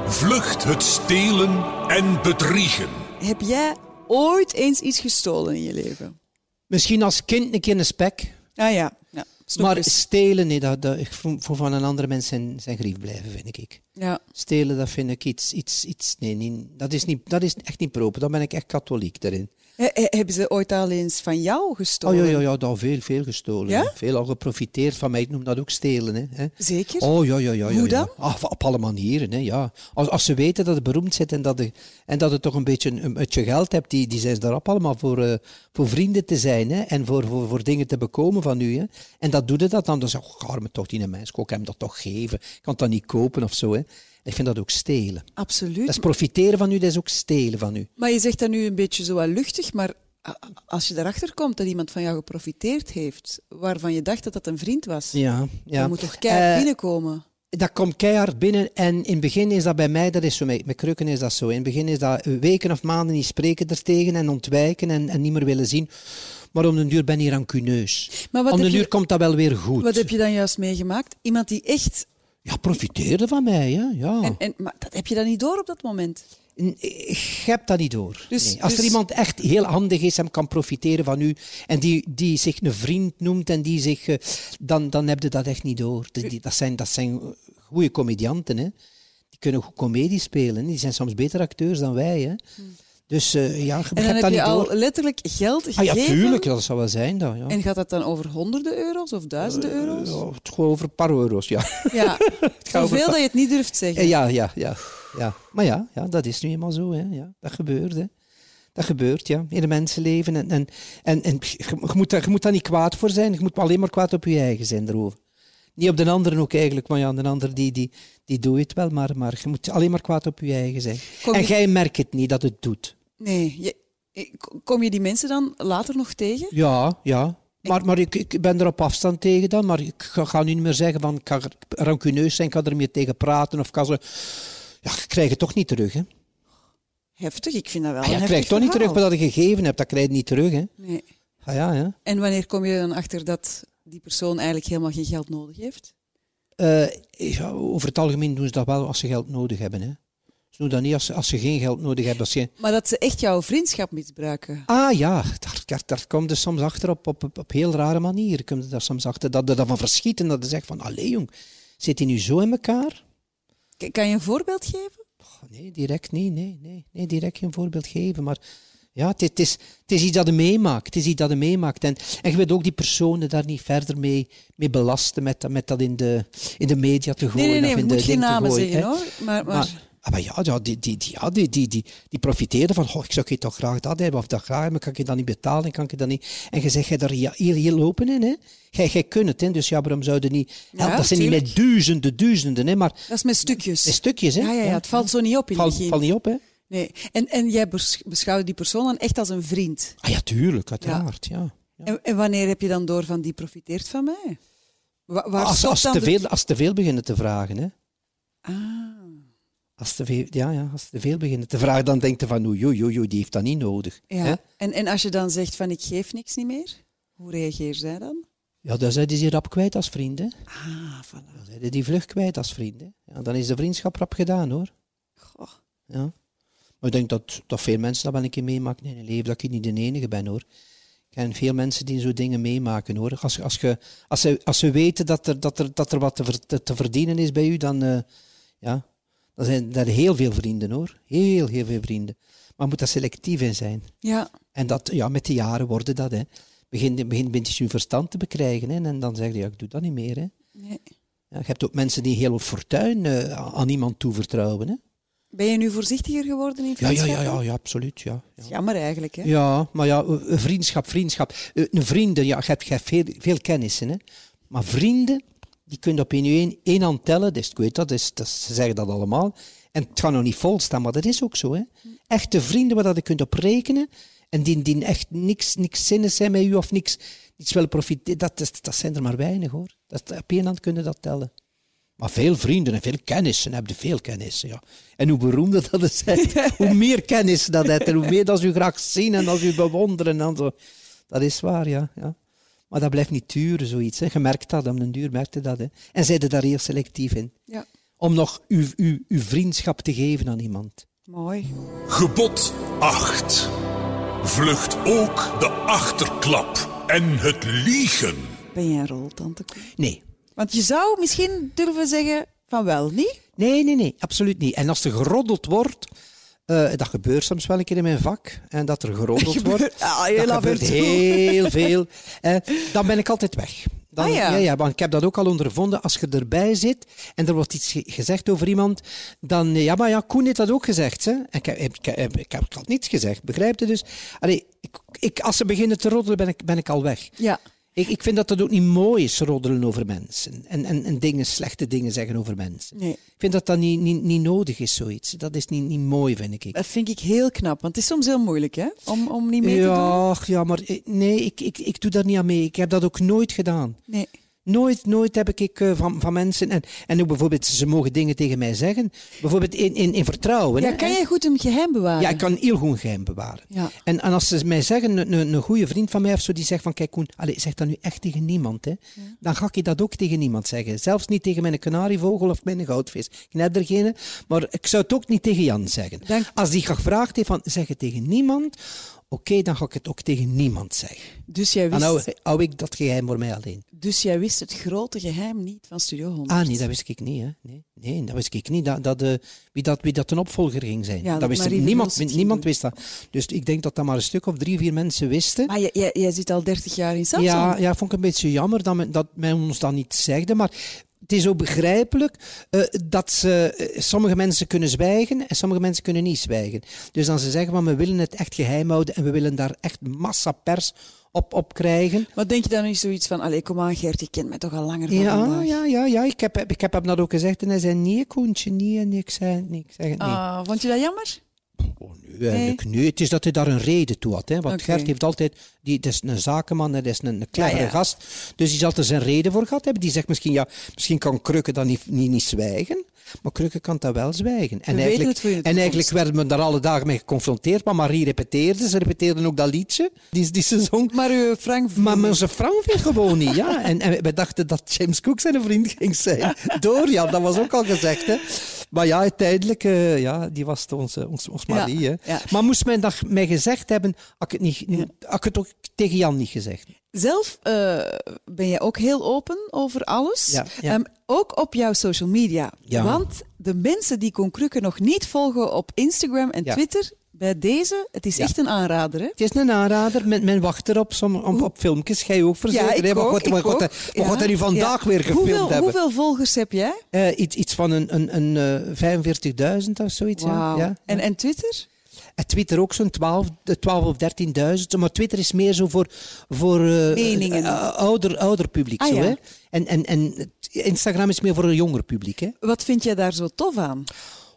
Vlucht het stelen en bedriegen. Heb jij ooit eens iets gestolen in je leven? Misschien als kind een keer een spek, Ah ja. ja. maar Snoepjes. stelen, nee, dat, dat, ik voor, voor van een andere mens zijn, zijn grief blijven, vind ik. Ja. Stelen, dat vind ik iets, iets, iets nee, niet, dat, is niet, dat is echt niet proper. Dan ben ik echt katholiek daarin. He- he- hebben ze ooit al eens van jou Oh gestolen? ja, ja, ja, daar veel, veel gestolen. Ja? hè. Veel al geprofiteerd van mij. Ik noem dat ook stelen. Hè. hè. Zeker? Oh ja, ja, ja. ja, Hoe ja. dan? Ah, op alle manieren, hè, ja. Als, als ze weten dat het beroemd zit en dat, je en dat het toch een beetje een beetje geld hebt, die, die zijn ze daarop allemaal voor, eh, voor vrienden te zijn hè, en voor, voor, voor dingen te bekomen van u. Hè. En dat doet het dat dan. Dan zeg ik, arme toch, die mens, ik kan hem dat toch geven. Ik kan dat niet kopen of zo. Hè. Ik vind dat ook stelen. Absoluut. Dat is profiteren van u, dat is ook stelen van u. Maar je zegt dat nu een beetje zo wel luchtig, maar a- a- als je erachter komt dat iemand van jou geprofiteerd heeft, waarvan je dacht dat dat een vriend was, Ja, ja. dan moet toch keihard Eh, binnenkomen? dat komt keihard binnen. En in het begin is dat bij mij, dat is zo, met, met krukken is dat eh, zo. In het begin is dat weken of maanden niet spreken ertegen en ontwijken en, en niet meer willen zien. Maar om den duur ben je rancuneus. Maar wat om den heb je- duur komt dat wel weer goed. Wat heb je dan juist meegemaakt? Iemand die echt. Ja, profiteerde van mij, hè? ja. En, en, maar dat heb je dan niet door op dat moment. N- Ik heb dat niet door. Dus- Nee. Als dus- er iemand echt heel handig is en kan profiteren van u en die, die zich een vriend noemt en die zich, eh, dan, dan heb je dat echt niet door. Dus Die- die- dat zijn, dat zijn goede comedianten. Hè. Die kunnen goed comedie spelen. hè. Die zijn soms beter acteurs dan wij. Hè. Dus eh, ja, je En dan hebt dat heb je niet al door. letterlijk geld gegeven. Ah ja, tuurlijk, dat zou wel zijn. Dat, ja. En gaat dat dan over honderden euro's of duizenden euro's? Ja, het gaat over een paar euro's, ja. Ja, Eh, over- zoveel dat je het niet durft zeggen. Eh, Ja, ja, ja. ja. Maar ja, ja, dat is nu eenmaal zo. Hè. Ja, dat gebeurt. Hè. Dat gebeurt, ja. In de mensenleven. En, en, en, en je, je moet daar, je moet daar niet kwaad voor zijn. Je moet maar alleen maar kwaad op je eigen zijn erover. Niet op de anderen ook eigenlijk, maar ja, de ander die, die, die doet het wel. Maar, maar je moet alleen maar kwaad op je eigen zijn. Kom en je- jij merkt het niet dat het doet. Nee, je- eh, k- kom je die mensen dan later nog tegen? Ja, ja. Maar, maar ik, ik ben er op afstand tegen dan. Maar ik ga, ga nu niet meer zeggen van ik ga er rancuneus zijn, ik ga er meer tegen praten. Of ik ga ze... Ja, je krijgt het toch niet terug, hè? Heftig, ik vind dat wel. Ah, een ja, je heftig krijgt toch niet terug verhaal. wat je gegeven hebt. Dat krijg je niet terug, hè? Nee. Ah, ja, ja. En wanneer kom je dan achter dat die persoon eigenlijk helemaal geen geld nodig heeft? Eh, ja, Over het algemeen doen ze dat wel als ze geld nodig hebben, hè? Ze doen dat niet als, ze- als ze geen geld nodig hebben. Als je... Maar dat ze echt jouw vriendschap misbruiken. Ah ja, daar, daar, daar komt er soms achter op, op, op, op heel rare manier. Komt er daar soms achter dat er dan van verschiet en dat je zegt van... Allee, jong, zit hij nu zo in elkaar? K- kan je een voorbeeld geven? Goh, Oh, Nee, direct niet. Nee, nee, nee, direct geen voorbeeld geven. Maar ja, het, is- het, is, het is iets dat je meemaakt. Het is iets dat je meemaakt. En, en je wilt ook die personen daar niet verder mee, mee belasten met, dat- met dat in de, in de media te gooien. Nee, nee, nee, of ik in de moet geen ding te namen gooien, zeggen hè. hoor. Maar, maar, Maar, ah, maar ja, ja, die, die, die, ja die, die, die, die profiteren van, goh, ik zou je toch graag dat hebben of dat graag hebben, kan ik je dat niet betalen, kan ik je dat niet... En je zegt, jij daar ja, hier, hier lopen in, hè. Jij, jij kunt het, hè. Dus ja, waarom zouden niet... Ja, dat zijn niet met tuurlijk. duizenden, duizenden, hè, maar dat is met stukjes. in stukjes, hè. ja, ja, ja, het valt zo niet op in Valt- het begin. valt niet op, hè. Nee. En, en jij bes- beschouwt die persoon dan echt als een vriend. Ah ja, tuurlijk, uiteraard. Ja. En, en wanneer heb je dan door van die profiteert van mij? Wa- waar Als, stopt als, dan te de- veel, als te veel beginnen te vragen, hè. Ah, Als te veel, ja, ja, als te veel beginnen te vragen, dan denkt je van, oei, oei, oei, oei, die heeft dat niet nodig. ja. hè. En, en als je dan zegt van ik geef niks niet meer, hoe reageer zij dan? Ja, dan zijn die ze rap kwijt als vrienden. Ah, voilà. Dan zijn die die vlug kwijt als vrienden. Ja, dan is de vriendschap rap gedaan, hoor. Goh. Ja. Maar ik denk dat, dat veel mensen dat wel een keer meemaken in hun leven, dat ik niet de enige ben, hoor. Ik ken veel mensen die zo dingen meemaken, hoor. Als, als, ge, als, ze, als ze weten dat er, dat er, dat er wat te, ver- te- te verdienen is bij u, dan, eh, ja, dan zijn er heel veel vrienden, hoor. Heel, heel veel vrienden. Maar je moet daar selectief in zijn. Ja, En dat, ja, met de jaren worden dat, hè. Begint begin, begin je verstand te bekrijgen, hè. En dan zeg je, ja, ik doe dat niet meer, hè. nee. Ja, je hebt ook mensen die heel hun fortuin eh, aan iemand toevertrouwen, hè. Ben je nu voorzichtiger geworden in Ja, ja, vriendschappen? ja, ja, ja absoluut, ja. ja. Jammer eigenlijk, hè? Ja, maar ja, eh, vriendschap, vriendschap. Eh, Een vrienden, ja, je hebt, je hebt veel, veel kennissen, hè. Maar vrienden, die kun je op één, één, één hand tellen. Dus ik weet dat, dus, dat- ze zeggen dat allemaal. En het gaat nog niet volstaan, maar dat is ook zo, hè. Echte vrienden waar dat je kunt op rekenen. En die, die echt niks, niks zinnig zijn met u of niks, niets willen profiteren. Dat, is- dat zijn er maar weinig, hoor. Dat, op één hand kun je dat tellen. Maar veel vrienden en veel kennissen hebben veel kennissen. Ja. En hoe beroemder dat is, hoe meer kennis dat het en hoe meer dat ze u graag zien en dat ze u bewonderen. En zo. Dat is waar, ja. ja. Maar dat blijft niet duren, zoiets. Hè. Je merkt dat, om den duur merkt je dat. Hè. En zijde daar heel selectief in. Ja. Om nog uw, uw, uw vriendschap te geven aan iemand. Mooi. Gebod 8. Vlucht ook de achterklap en het liegen. Ben jij een roltante? Koen? Nee. Want je zou misschien durven zeggen van wel, niet? Nee, nee, nee, absoluut niet. En als er geroddeld wordt, eh, dat gebeurt soms wel een keer in mijn vak, en dat er geroddeld wordt, ah, heel dat af en gebeurt toe. heel veel, eh, dan ben ik altijd weg. Dan, Ah, ja. ja, want ik heb dat ook al ondervonden. Als je erbij zit en er wordt iets ge- gezegd over iemand, dan... eh, Ja, maar ja, Koen heeft dat ook gezegd. Hè? En ik, heb, ik, heb, ik, heb, ik had niets gezegd, begrijp je dus? Allee, ik, ik, als ze beginnen te roddelen, ben ik, ben ik al weg. Ja. Ik, ik vind dat dat ook niet mooi is, roddelen over mensen. En, en, en dingen, slechte dingen zeggen over mensen. Nee. Ik vind dat dat niet, niet, niet nodig is, zoiets. Dat is niet, niet mooi, vind ik. Dat vind ik heel knap, want het is soms heel moeilijk, hè? Om, om niet mee te doen. Ja, ach, ja, maar eh, nee, ik, ik, ik doe daar niet aan mee. Ik heb dat ook nooit gedaan. Nee. Nooit, nooit heb ik, ik eh, van, van mensen. En, en ook bijvoorbeeld, ze mogen dingen tegen mij zeggen. Bijvoorbeeld in, in, in vertrouwen. Ja, hè. kan jij goed een geheim bewaren? Ja, ik kan heel goed geheim bewaren. Ja. En, en als ze mij zeggen, een, een, een goede vriend van mij of zo, die zegt van, kijk Koen, allez, zeg dat nu echt tegen niemand, hè. dan ga ik dat ook tegen niemand zeggen. Zelfs niet tegen mijn kanarievogel of mijn goudvis. Ik heb er geen, maar ik zou het ook niet tegen Jan zeggen. Dank- Als die gevraagd heeft van, zeg het tegen niemand, oké, dan ga ik het ook tegen niemand zeggen. Dus, jij Dan wist, hou, hou ik dat geheim voor mij alleen. dus jij wist het grote geheim niet van Studio 100? Ah, nee, dat wist ik niet. Hè. Nee, nee, dat wist ik niet. Dat, dat, eh, wie, dat, wie dat een opvolger ging zijn. Ja, dat dat wist ik- Marie van niemand, Hulst het niemand, ging doen. wist dat. Dus ik denk dat dat maar een stuk of drie, vier mensen wisten. Maar jij, jij, jij zit al 30 jaar in Samsung. Ja, ja, vond ik een beetje jammer dat men, dat men ons dat niet zegde. Maar het is ook begrijpelijk eh, dat ze, eh, sommige mensen kunnen zwijgen en sommige mensen kunnen niet zwijgen. Dus dan ze zeggen van we willen het echt geheim houden en we willen daar echt massa pers op, op krijgen. Wat denk je dan nu zoiets van, allee, kom aan Gert, je kent mij toch al langer dan Ja, vandaag. ja, ja, ja. Ik heb, ik heb hem dat ook gezegd en hij zei nee, Koentje, nee, en ik zei nee, ik zeg het niet. Ah, vond je dat jammer? Oh, nu eigenlijk nu. Het is dat hij daar een reden toe had. Hè? Want Oké. Gert heeft altijd... Die, dat is een zakenman, dat is een, een clevere Ja, ja. gast. Dus die zal er zijn reden voor gehad hebben. Die zegt misschien, ja, misschien kan Krukke dan niet, niet, niet zwijgen. Maar Krukke kan dat wel zwijgen. En, weten eigenlijk, het voor in de en eigenlijk toekomst. werden we daar alle dagen mee geconfronteerd. Maar Marie repeteerde. Ze repeteerden ook dat liedje die, die ze zong. Maar eh, Frank... Maar onze vrouw viel gewoon niet, ja. En, en we dachten dat James Cook zijn vriend ging zijn. Door, ja, dat was ook al gezegd, hè. Maar ja, uiteindelijk, eh, ja, die was onze, ons, ons Ja, Marie, hè. ja. Maar moest men dat mij gezegd hebben, had ik het, niet, had ik het ook tegen Jan niet gezegd. Zelf eh, ben jij ook heel open over alles. Ja, ja. Ehm, ook op jouw social media. Ja. Want de mensen die Kon Krukke nog niet volgen op Instagram en Ja. Twitter, bij deze, het is Ja. echt een aanrader, hè? Het is een aanrader, men, men wacht erop som, op, op filmpjes. Jij ook verzekeren, ik hè. Maar ook, God, ik maar God, ook. we gaan Ja. er nu vandaag Ja. weer gefilmd hoeveel, hebben. Hoeveel volgers heb jij? Eh, iets, iets van een, een, een eh, 45.000 of zoiets, ja. Wauw. ja. En, en Twitter? En Twitter ook zo'n 12, eh, 12 of 13.000. Maar Twitter is meer zo voor, voor eh, Meningen. eh, ouder, ouder publiek. Ah, zo, ja. hè? En, en, en het- Instagram is meer voor een jonger publiek. Hè? Wat vind jij daar zo tof aan?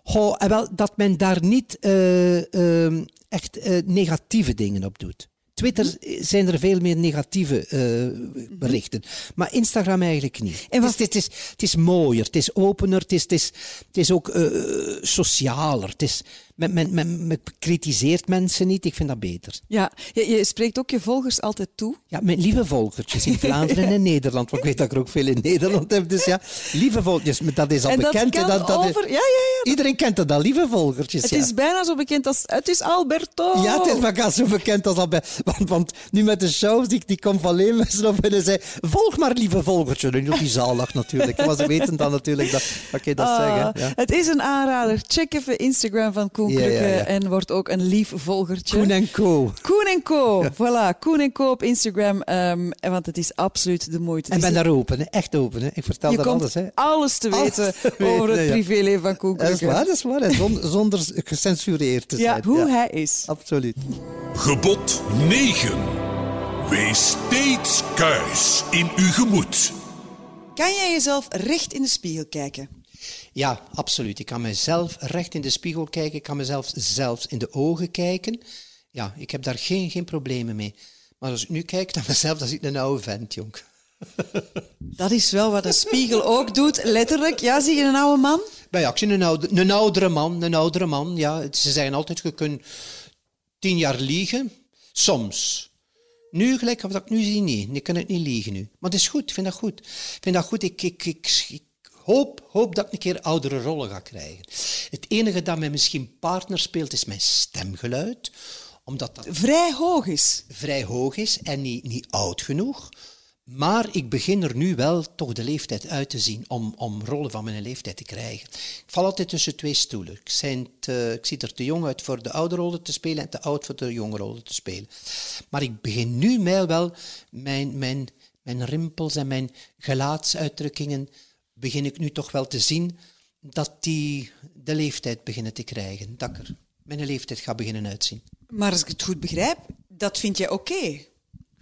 Goh, en wel, dat men daar niet eh, ehm, echt eh, negatieve dingen op doet. Twitter Mhm. eh, zijn er veel meer negatieve eh, berichten. Maar Instagram eigenlijk niet. En wat- het, is, het, is, het is mooier, het is opener, het is, het is, het is ook eh, socialer. Het is, men, men, men, men kritiseert mensen niet, ik vind dat beter. Ja, je, je spreekt ook je volgers altijd toe. Ja, mijn lieve volgertjes in Vlaanderen en Nederland. Want ik weet dat ik er ook veel in Nederland heb. Dus ja, lieve volgertjes, maar dat is al en dat bekend. hè, kan dat is- over... Ja, ja, ja. Iedereen kent dat, dat lieve volgertjes. Het ja. is bijna zo bekend als... Het is Alberto! Ja, het is maar zo bekend als al bij. Want, want nu met de shows, die, die kwam van alleen mensen op en zei: Volg maar, lieve volgertje. Nu doet die zalig natuurlijk. Maar ze weten dan natuurlijk dat. dat kan je dat Ah, zeggen? Ja. Het is een aanrader. Check even Instagram van Koen Ja, ja, Krukke ja. en word ook een lief volgertje. Koen en Co. Koen en Co. Voilà, Koen en Co op Instagram. ehm, en want het is absoluut de moeite. En Het is ben daar open, hè. echt open. Hè. Ik vertel je dat komt alles. Hè. alles te Alles weten te weten, over het ja. privéleven van Koen Dat is Krukke. waar, dat is waar. hè. Zonder, zonder gecensureerd te Ja, zijn. hoe hij is. Absoluut. Gebod 9. Wees steeds kuis in uw gemoed. Kan jij jezelf recht in de spiegel kijken? Ja, absoluut. Ik kan mezelf recht in de spiegel kijken. Ik kan mezelf zelfs in de ogen kijken. Ja, ik heb daar geen, geen problemen mee. Maar als ik nu kijk naar mezelf, dan zie ik een oude vent, jong. Dat is wel wat een spiegel ook doet, letterlijk. Ja, zie je een oude man? Bij actie, een, oude, een oudere man, een oudere man. Ja, Het- ze zeggen altijd, je kunt tien jaar liegen. Soms. Nu gelijk, wat ik nu zie, niet. Ik kan het niet liegen nu. Maar dat is goed, ik vind dat goed. Ik vind dat goed. Ik, ik, ik, ik hoop, hoop dat ik een keer oudere rollen ga krijgen. Het enige dat mij misschien partner speelt, is mijn stemgeluid. Omdat dat Vrij hoog is. vrij hoog is en niet, niet oud genoeg. Maar ik begin er nu wel toch de leeftijd uit te zien om, om rollen van mijn leeftijd te krijgen. Ik val altijd tussen twee stoelen. Ik, zijn te- ik zie er te jong uit voor de oude rollen te spelen en te oud voor de jonge rollen te spelen. Maar ik begin nu mij wel mijn, mijn, mijn rimpels en mijn gelaatsuitdrukkingen begin ik nu toch wel te zien dat die de leeftijd beginnen te krijgen. Dat ik er mijn leeftijd ga beginnen uitzien. Maar als ik het goed begrijp, dat vind jij oké.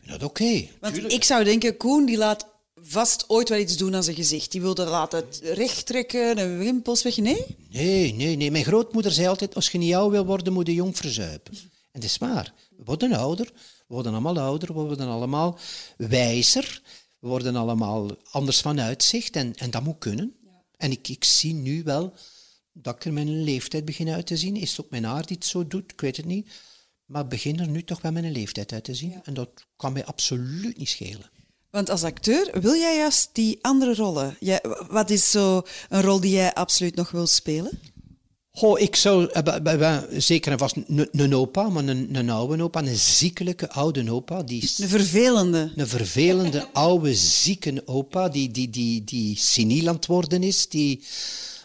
Ik vind dat oké. Want ik zou denken, Koen die laat vast ooit wel iets doen aan zijn gezicht. Die wil dat laten recht trekken en wimpels weg. Nee? Nee, nee, nee. Mijn grootmoeder zei altijd, als je niet oud wil worden, moet je jong verzuipen. En dat is waar. We worden ouder, we worden allemaal ouder, we worden allemaal wijzer. We worden allemaal anders van uitzicht en, en dat moet kunnen. En ik, ik zie nu wel dat ik er mijn leeftijd begin uit te zien. Is het ook mijn haar die het zo doet? Ik weet het niet. Maar ik begin er nu toch wel mijn leeftijd uit te zien. En dat kan mij absoluut niet schelen. Want als acteur wil jij juist die andere rollen. Jij- wat is zo een rol die jij absoluut nog wil spelen? Goh, ik zou eh, bij- bij- bij- zeker en vast een- een opa, maar een, een oude opa, een ziekelijke oude opa, die is Een vervelende. een vervelende, oude, zieke opa die, die, die, die seniel aan het worden is, die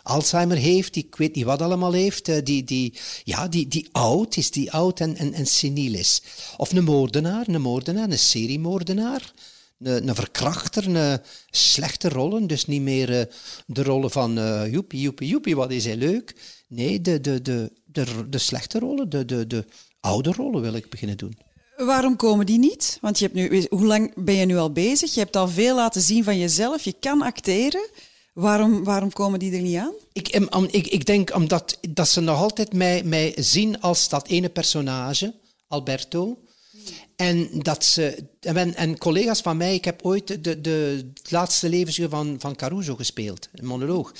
Alzheimer heeft, die ik weet niet wat allemaal heeft, eh, die, die, ja, die, die oud is, die oud en, en, en seniel is. Of een moordenaar, een moordenaar, een seriemoordenaar, een, een verkrachter, een slechte rollen, dus niet meer eh, de rollen van eh joepie, joepie, joepie, wat is hij leuk. Nee, de, de, de, de, de slechte rollen, de, de, de oude rollen wil ik beginnen doen. Waarom komen die niet? Want je hebt nu, hoe lang ben je nu al bezig? Je hebt al veel laten zien van jezelf. Je kan acteren. Waarom, waarom komen die er niet aan? Ik, em, am- ik, ik denk omdat dat ze nog altijd mij, mij zien als dat ene personage, Alberto. En, dat ze, en, en collega's van mij, ik heb ooit de, de, het laatste levensuur van, van Caruso gespeeld, een monoloog.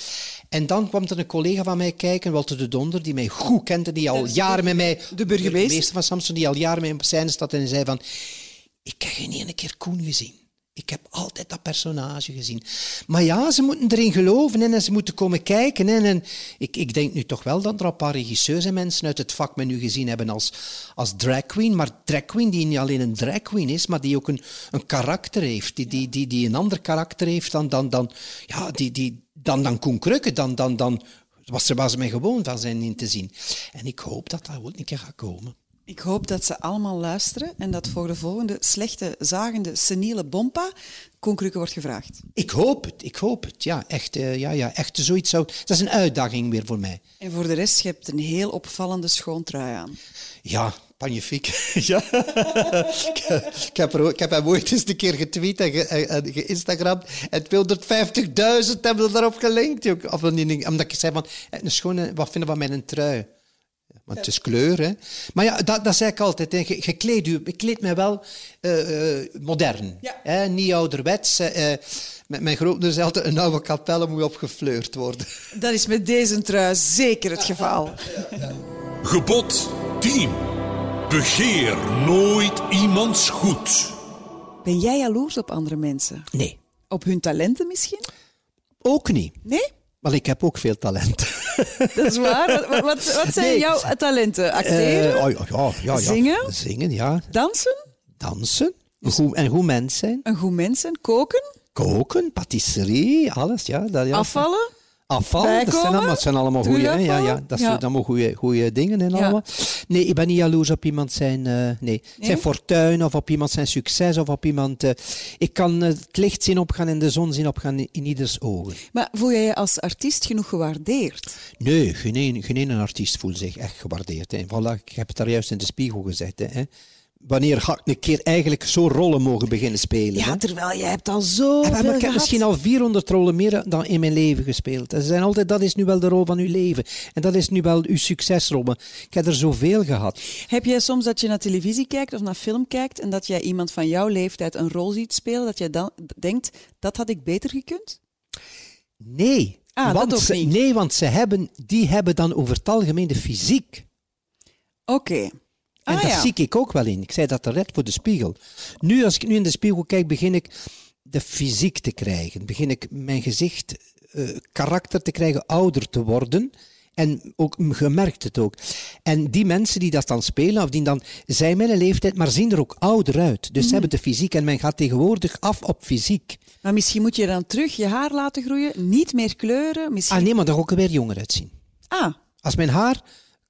En dan kwam er een collega van mij kijken, Walter de Donder, die mij goed kende, die al jaren met mij... de burgemeester. van Samson, die al jaren met mij op scène staat en zei van... Ik heb geen ene keer Koen gezien. Ik heb altijd dat personage gezien. Maar ja, ze moeten erin geloven hè, en ze moeten komen kijken. hè. En, ik, ik denk nu toch wel dat er een paar regisseurs en mensen uit het vak me nu gezien hebben als, als drag queen. Maar drag queen die niet alleen een drag queen is, maar die ook een, een karakter heeft. Die, die, die, die een ander karakter heeft dan, dan, dan, ja, die, die, dan, dan Koen Krukke, dan, dan, dan was ze, waar ze mij gewoon van zijn in te zien. En ik hoop dat dat ook een keer gaat komen. Ik hoop dat ze allemaal luisteren en dat voor de volgende slechte, zagende, seniele bompa Konkrukke wordt gevraagd. Ik hoop het, ik hoop het. Ja, echt, eh, ja, ja, echt zoiets zou... Dat is een uitdaging weer voor mij. En voor de rest, je hebt een heel opvallende schoontrui aan. Ja, panjefiek. ja. ik, ik heb er, ook- ik heb hem ooit eens een keer getweet en ge- en- en geïnstagramd. En 250.000 hebben daarop gelinkt. joh. Of, niet, niet, omdat ik zei van, eh, een schone, wat vinden we met een trui? Want het is kleur, hè. Maar ja, dat, dat zei ik altijd. Hè. Je, je kleed je- ik kleed mij wel eh, eh, modern. Ja. Hè, niet ouderwets. eh, eh, met mijn grootmoeder zei altijd, een oude kapelle moet opgefleurd worden. Dat is met deze trui zeker het geval. Gebod 10. Begeer nooit iemands goed. Ben jij jaloers op andere mensen? Nee. Op hun talenten misschien? Ook niet. Nee? Want ik heb ook veel talent. Dat is waar. Wat, wat- wat, wat zijn Nee. jouw talenten? Acteren? Eh, oh, ja, ja, ja, ja. Zingen? Zingen, ja. dansen? Dansen. Goed, en goed mens zijn. Een goed mensen? Koken? Koken, patisserie, alles. Ja, dat, ja. Afvallen? Afval, dat zijn bijkomen? allemaal, dat zijn allemaal Doe je goede, ja, afval? ja, dat Ja. zijn allemaal goede, goede dingen en Ja. allemaal. Nee, ik ben niet jaloers op iemand zijn, eh, nee. zijn fortuin of op iemand zijn succes of op iemand. eh, ik kan eh, het licht zien opgaan en de zon zien opgaan in, in ieders ogen. Maar voel jij je als artiest genoeg gewaardeerd? Nee, geen, een- geen ene artiest voelt zich echt gewaardeerd. Hè. Voilà, ik heb het daar juist in de spiegel gezet. Hè. Wanneer ga ik een keer eigenlijk zo'n rollen mogen beginnen spelen? hè? Ja, terwijl jij hebt al zo Ja, maar ik heb misschien al 400 rollen meer dan in mijn leven gespeeld. En Ze zijn altijd, dat is nu wel de rol van uw leven. En dat is nu wel uw succesrol. Maar Ik heb er zoveel gehad. Heb jij soms dat je naar televisie kijkt of naar film kijkt en dat jij iemand van jouw leeftijd een rol ziet spelen, dat jij dan denkt, dat had ik beter gekund? Nee. Ah, dat want ook ze, niet. Nee, want ze hebben, die hebben dan over het algemeen de fysiek. Oké. En Ah dat ja. zie ik ook wel in. Ik zei dat terecht voor de spiegel. Nu, als ik nu in de spiegel kijk, begin ik de fysiek te krijgen. Begin ik mijn gezicht, eh, karakter te krijgen, ouder te worden. En ook mm, je merkt het ook. En die mensen die dat dan spelen, of die dan zijn mijn leeftijd, maar zien er ook ouder uit. Dus ze hebben de fysiek en men gaat tegenwoordig af op fysiek. Maar misschien moet je dan terug je haar laten groeien, niet meer kleuren, misschien... Ah nee, maar dan ga ik er weer jonger uitzien. Ah, Als mijn haar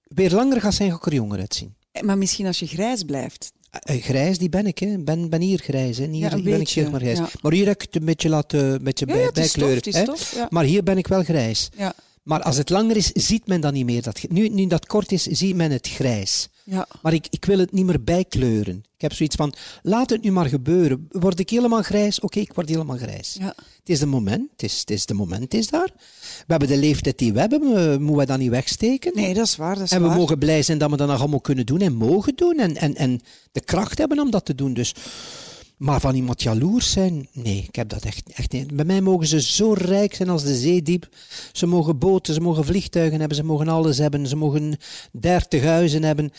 weer langer gaat zijn, ga ik er jonger uitzien. eh, maar misschien als je grijs blijft. Eh, Grijs, die ben ik, hè. Ben, ben hier grijs, hè. Hier Ja, een ben ik beetje, zeg maar grijs. ja. Maar hier heb ik het een beetje laten een beetje Ja, bij, ja, het is bijkleuren, tof, het is hè. tof, ja. Maar hier ben ik wel grijs. Ja. Maar als het langer is, ziet men dat niet meer. Dat, ge- nu, nu dat kort is, ziet men het grijs. Ja. Maar ik, ik wil het niet meer bijkleuren. Ik heb zoiets van, laat het nu maar gebeuren. Word ik helemaal grijs? Oké, ik word helemaal grijs. Ja. Het is de moment, het is, het is de moment is daar. We hebben de leeftijd die we hebben, we- moeten we dat niet wegsteken? Nee, dat is waar, dat is En we waar. mogen blij zijn dat we dat nog allemaal kunnen doen en mogen doen. En, en, en de kracht hebben om dat te doen. Dus Maar van iemand jaloers zijn, nee, ik heb dat echt, echt niet. Bij mij mogen ze zo rijk zijn als de zee diep. Ze mogen boten, ze mogen vliegtuigen hebben, ze mogen alles hebben, ze mogen dertig huizen hebben.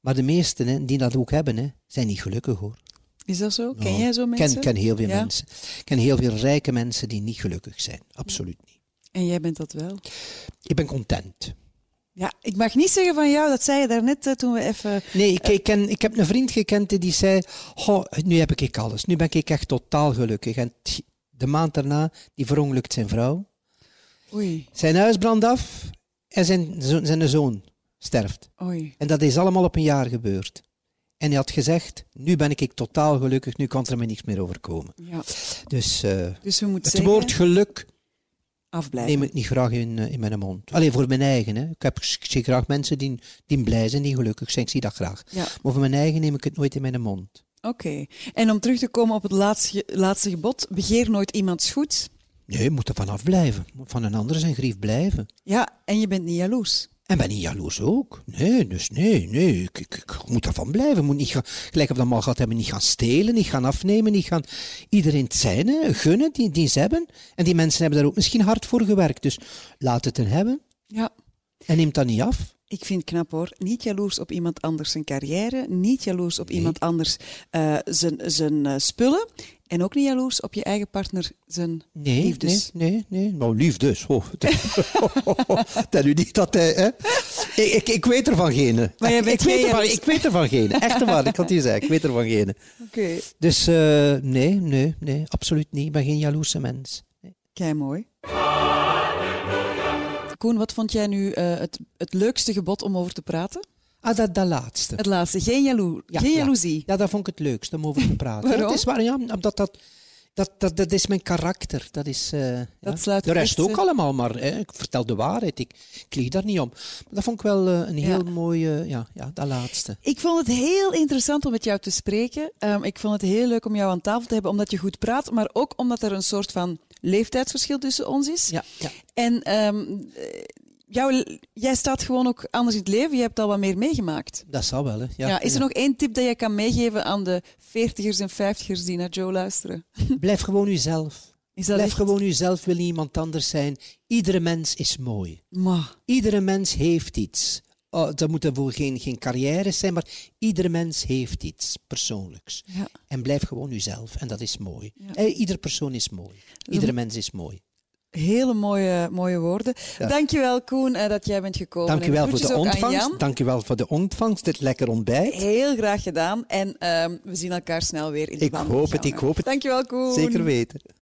Maar de meesten hè, die dat ook hebben, hè, zijn niet gelukkig hoor. Is dat zo? Ja. Ken jij zo Ik mensen? Nou, ken, ken heel veel Ja. mensen. Ik ken heel veel rijke mensen die niet gelukkig zijn. Absoluut niet. En jij bent dat wel. Ik ben content. Ja, ik mag niet zeggen van jou, dat zei je daarnet eh, toen we even... Nee, ik, ik, ken, ik heb een vriend gekend die- die zei: "Goh, Nu heb ik alles. Nu ben ik echt totaal gelukkig. En t- de maand daarna, die verongelukt zijn vrouw. Oei, Zijn huis brandt af en zijn, zo- zijn zoon sterft. oei. En dat is allemaal op een jaar gebeurd. En hij had gezegd: Nu ben ik, ik totaal gelukkig, nu kan er me niks meer overkomen. Ja. Dus eh, Dus we moeten het zeggen, woord geluk afblijven. neem ik niet graag in, eh, in mijn mond. Alleen voor mijn eigen. Hè. Ik, heb, ik zie graag mensen die, die blij zijn, die gelukkig zijn. Ik zie dat graag. Ja. Maar voor mijn eigen neem ik het nooit in mijn mond. Oké. En om terug te komen op het laatste, laatste gebod, begeer nooit iemands goed. Nee, je moet er vanaf blijven. Moet Van een ander zijn grief blijven. Ja, en je bent niet jaloers. En ben niet jaloers ook? Nee, dus nee, nee. Ik, ik, ik moet ervan blijven. Moet niet gaan, gelijk op dat mal gehad hebben, niet gaan stelen, niet gaan afnemen, niet gaan iedereen het zijne gunnen die, die ze hebben. En die mensen hebben daar ook misschien hard voor gewerkt. Dus laat het hen hebben Ja. en neem dat niet af. Ik vind het knap hoor. Niet jaloers op iemand anders zijn carrière. Niet jaloers op iemand anders eh, zijn, zijn eh, spullen. En ook niet jaloers op je eigen partner zijn Nee, liefdes. nee, nee, nee. Nou, liefdes. Oh, dat u niet dat hij... Hè? Ik, ik, ik weet er van geen. Maar jij ik, bent ik, weet geen er van, jaloers. ik weet er van geen. Echt waar, ik kan het niet zeggen. Ik weet er van geen. Oké. Dus eh, nee, nee, nee. Absoluut niet. Ik ben geen jaloerse mens. Kei mooi. Koen, wat vond jij nu eh, het, het leukste gebod om over te praten? Ah, dat, dat laatste. Het laatste, geen, jaloer, Ja, geen ja. jaloezie. Ja, dat vond ik het leukst om over te praten. Waarom? Ja, Het is waar, ja, omdat dat, dat, dat, dat is mijn karakter. Dat is, eh, ja. Dat sluit De rest echt, ook eh, allemaal, maar hè, ik vertel de waarheid. Ik, ik lieg daar niet om. Maar dat vond ik wel eh, een heel Ja. mooie, ja, ja, dat laatste. Ik vond het heel interessant om met jou te spreken. Ehm, ik vond het heel leuk om jou aan tafel te hebben, omdat je goed praat, maar ook omdat er een soort van leeftijdsverschil tussen ons is. Ja, ja. En ehm, eh, jou, jij staat gewoon ook anders in het leven. Je hebt al wat meer meegemaakt. dat zal wel. Hè. Ja, Ja, is er nog één tip dat jij kan meegeven aan de veertigers en vijftigers die naar Joe luisteren? Blijf gewoon uzelf. Is dat Blijf echt- gewoon uzelf, wil iemand anders zijn. Iedere mens is mooi. Ma, Iedere mens heeft iets. Oh, dat moet voor geen, geen carrière zijn, maar iedere mens heeft iets persoonlijks. ja. En blijf gewoon uzelf. En dat is mooi. Ja. Eh, Ieder persoon is mooi. Iedere mens is mooi. Hele mooie, mooie woorden. Ja. Dankjewel Koen eh, dat jij bent gekomen. Dank u En wel voor groetjes de ook aan ontvangst. Jan. Dank u wel voor de ontvangst. Dit lekker ontbijt. Heel graag gedaan. En ehm, we zien elkaar snel weer in de Ik hoop het, ik hoop het. Dankjewel Koen. Zeker weten.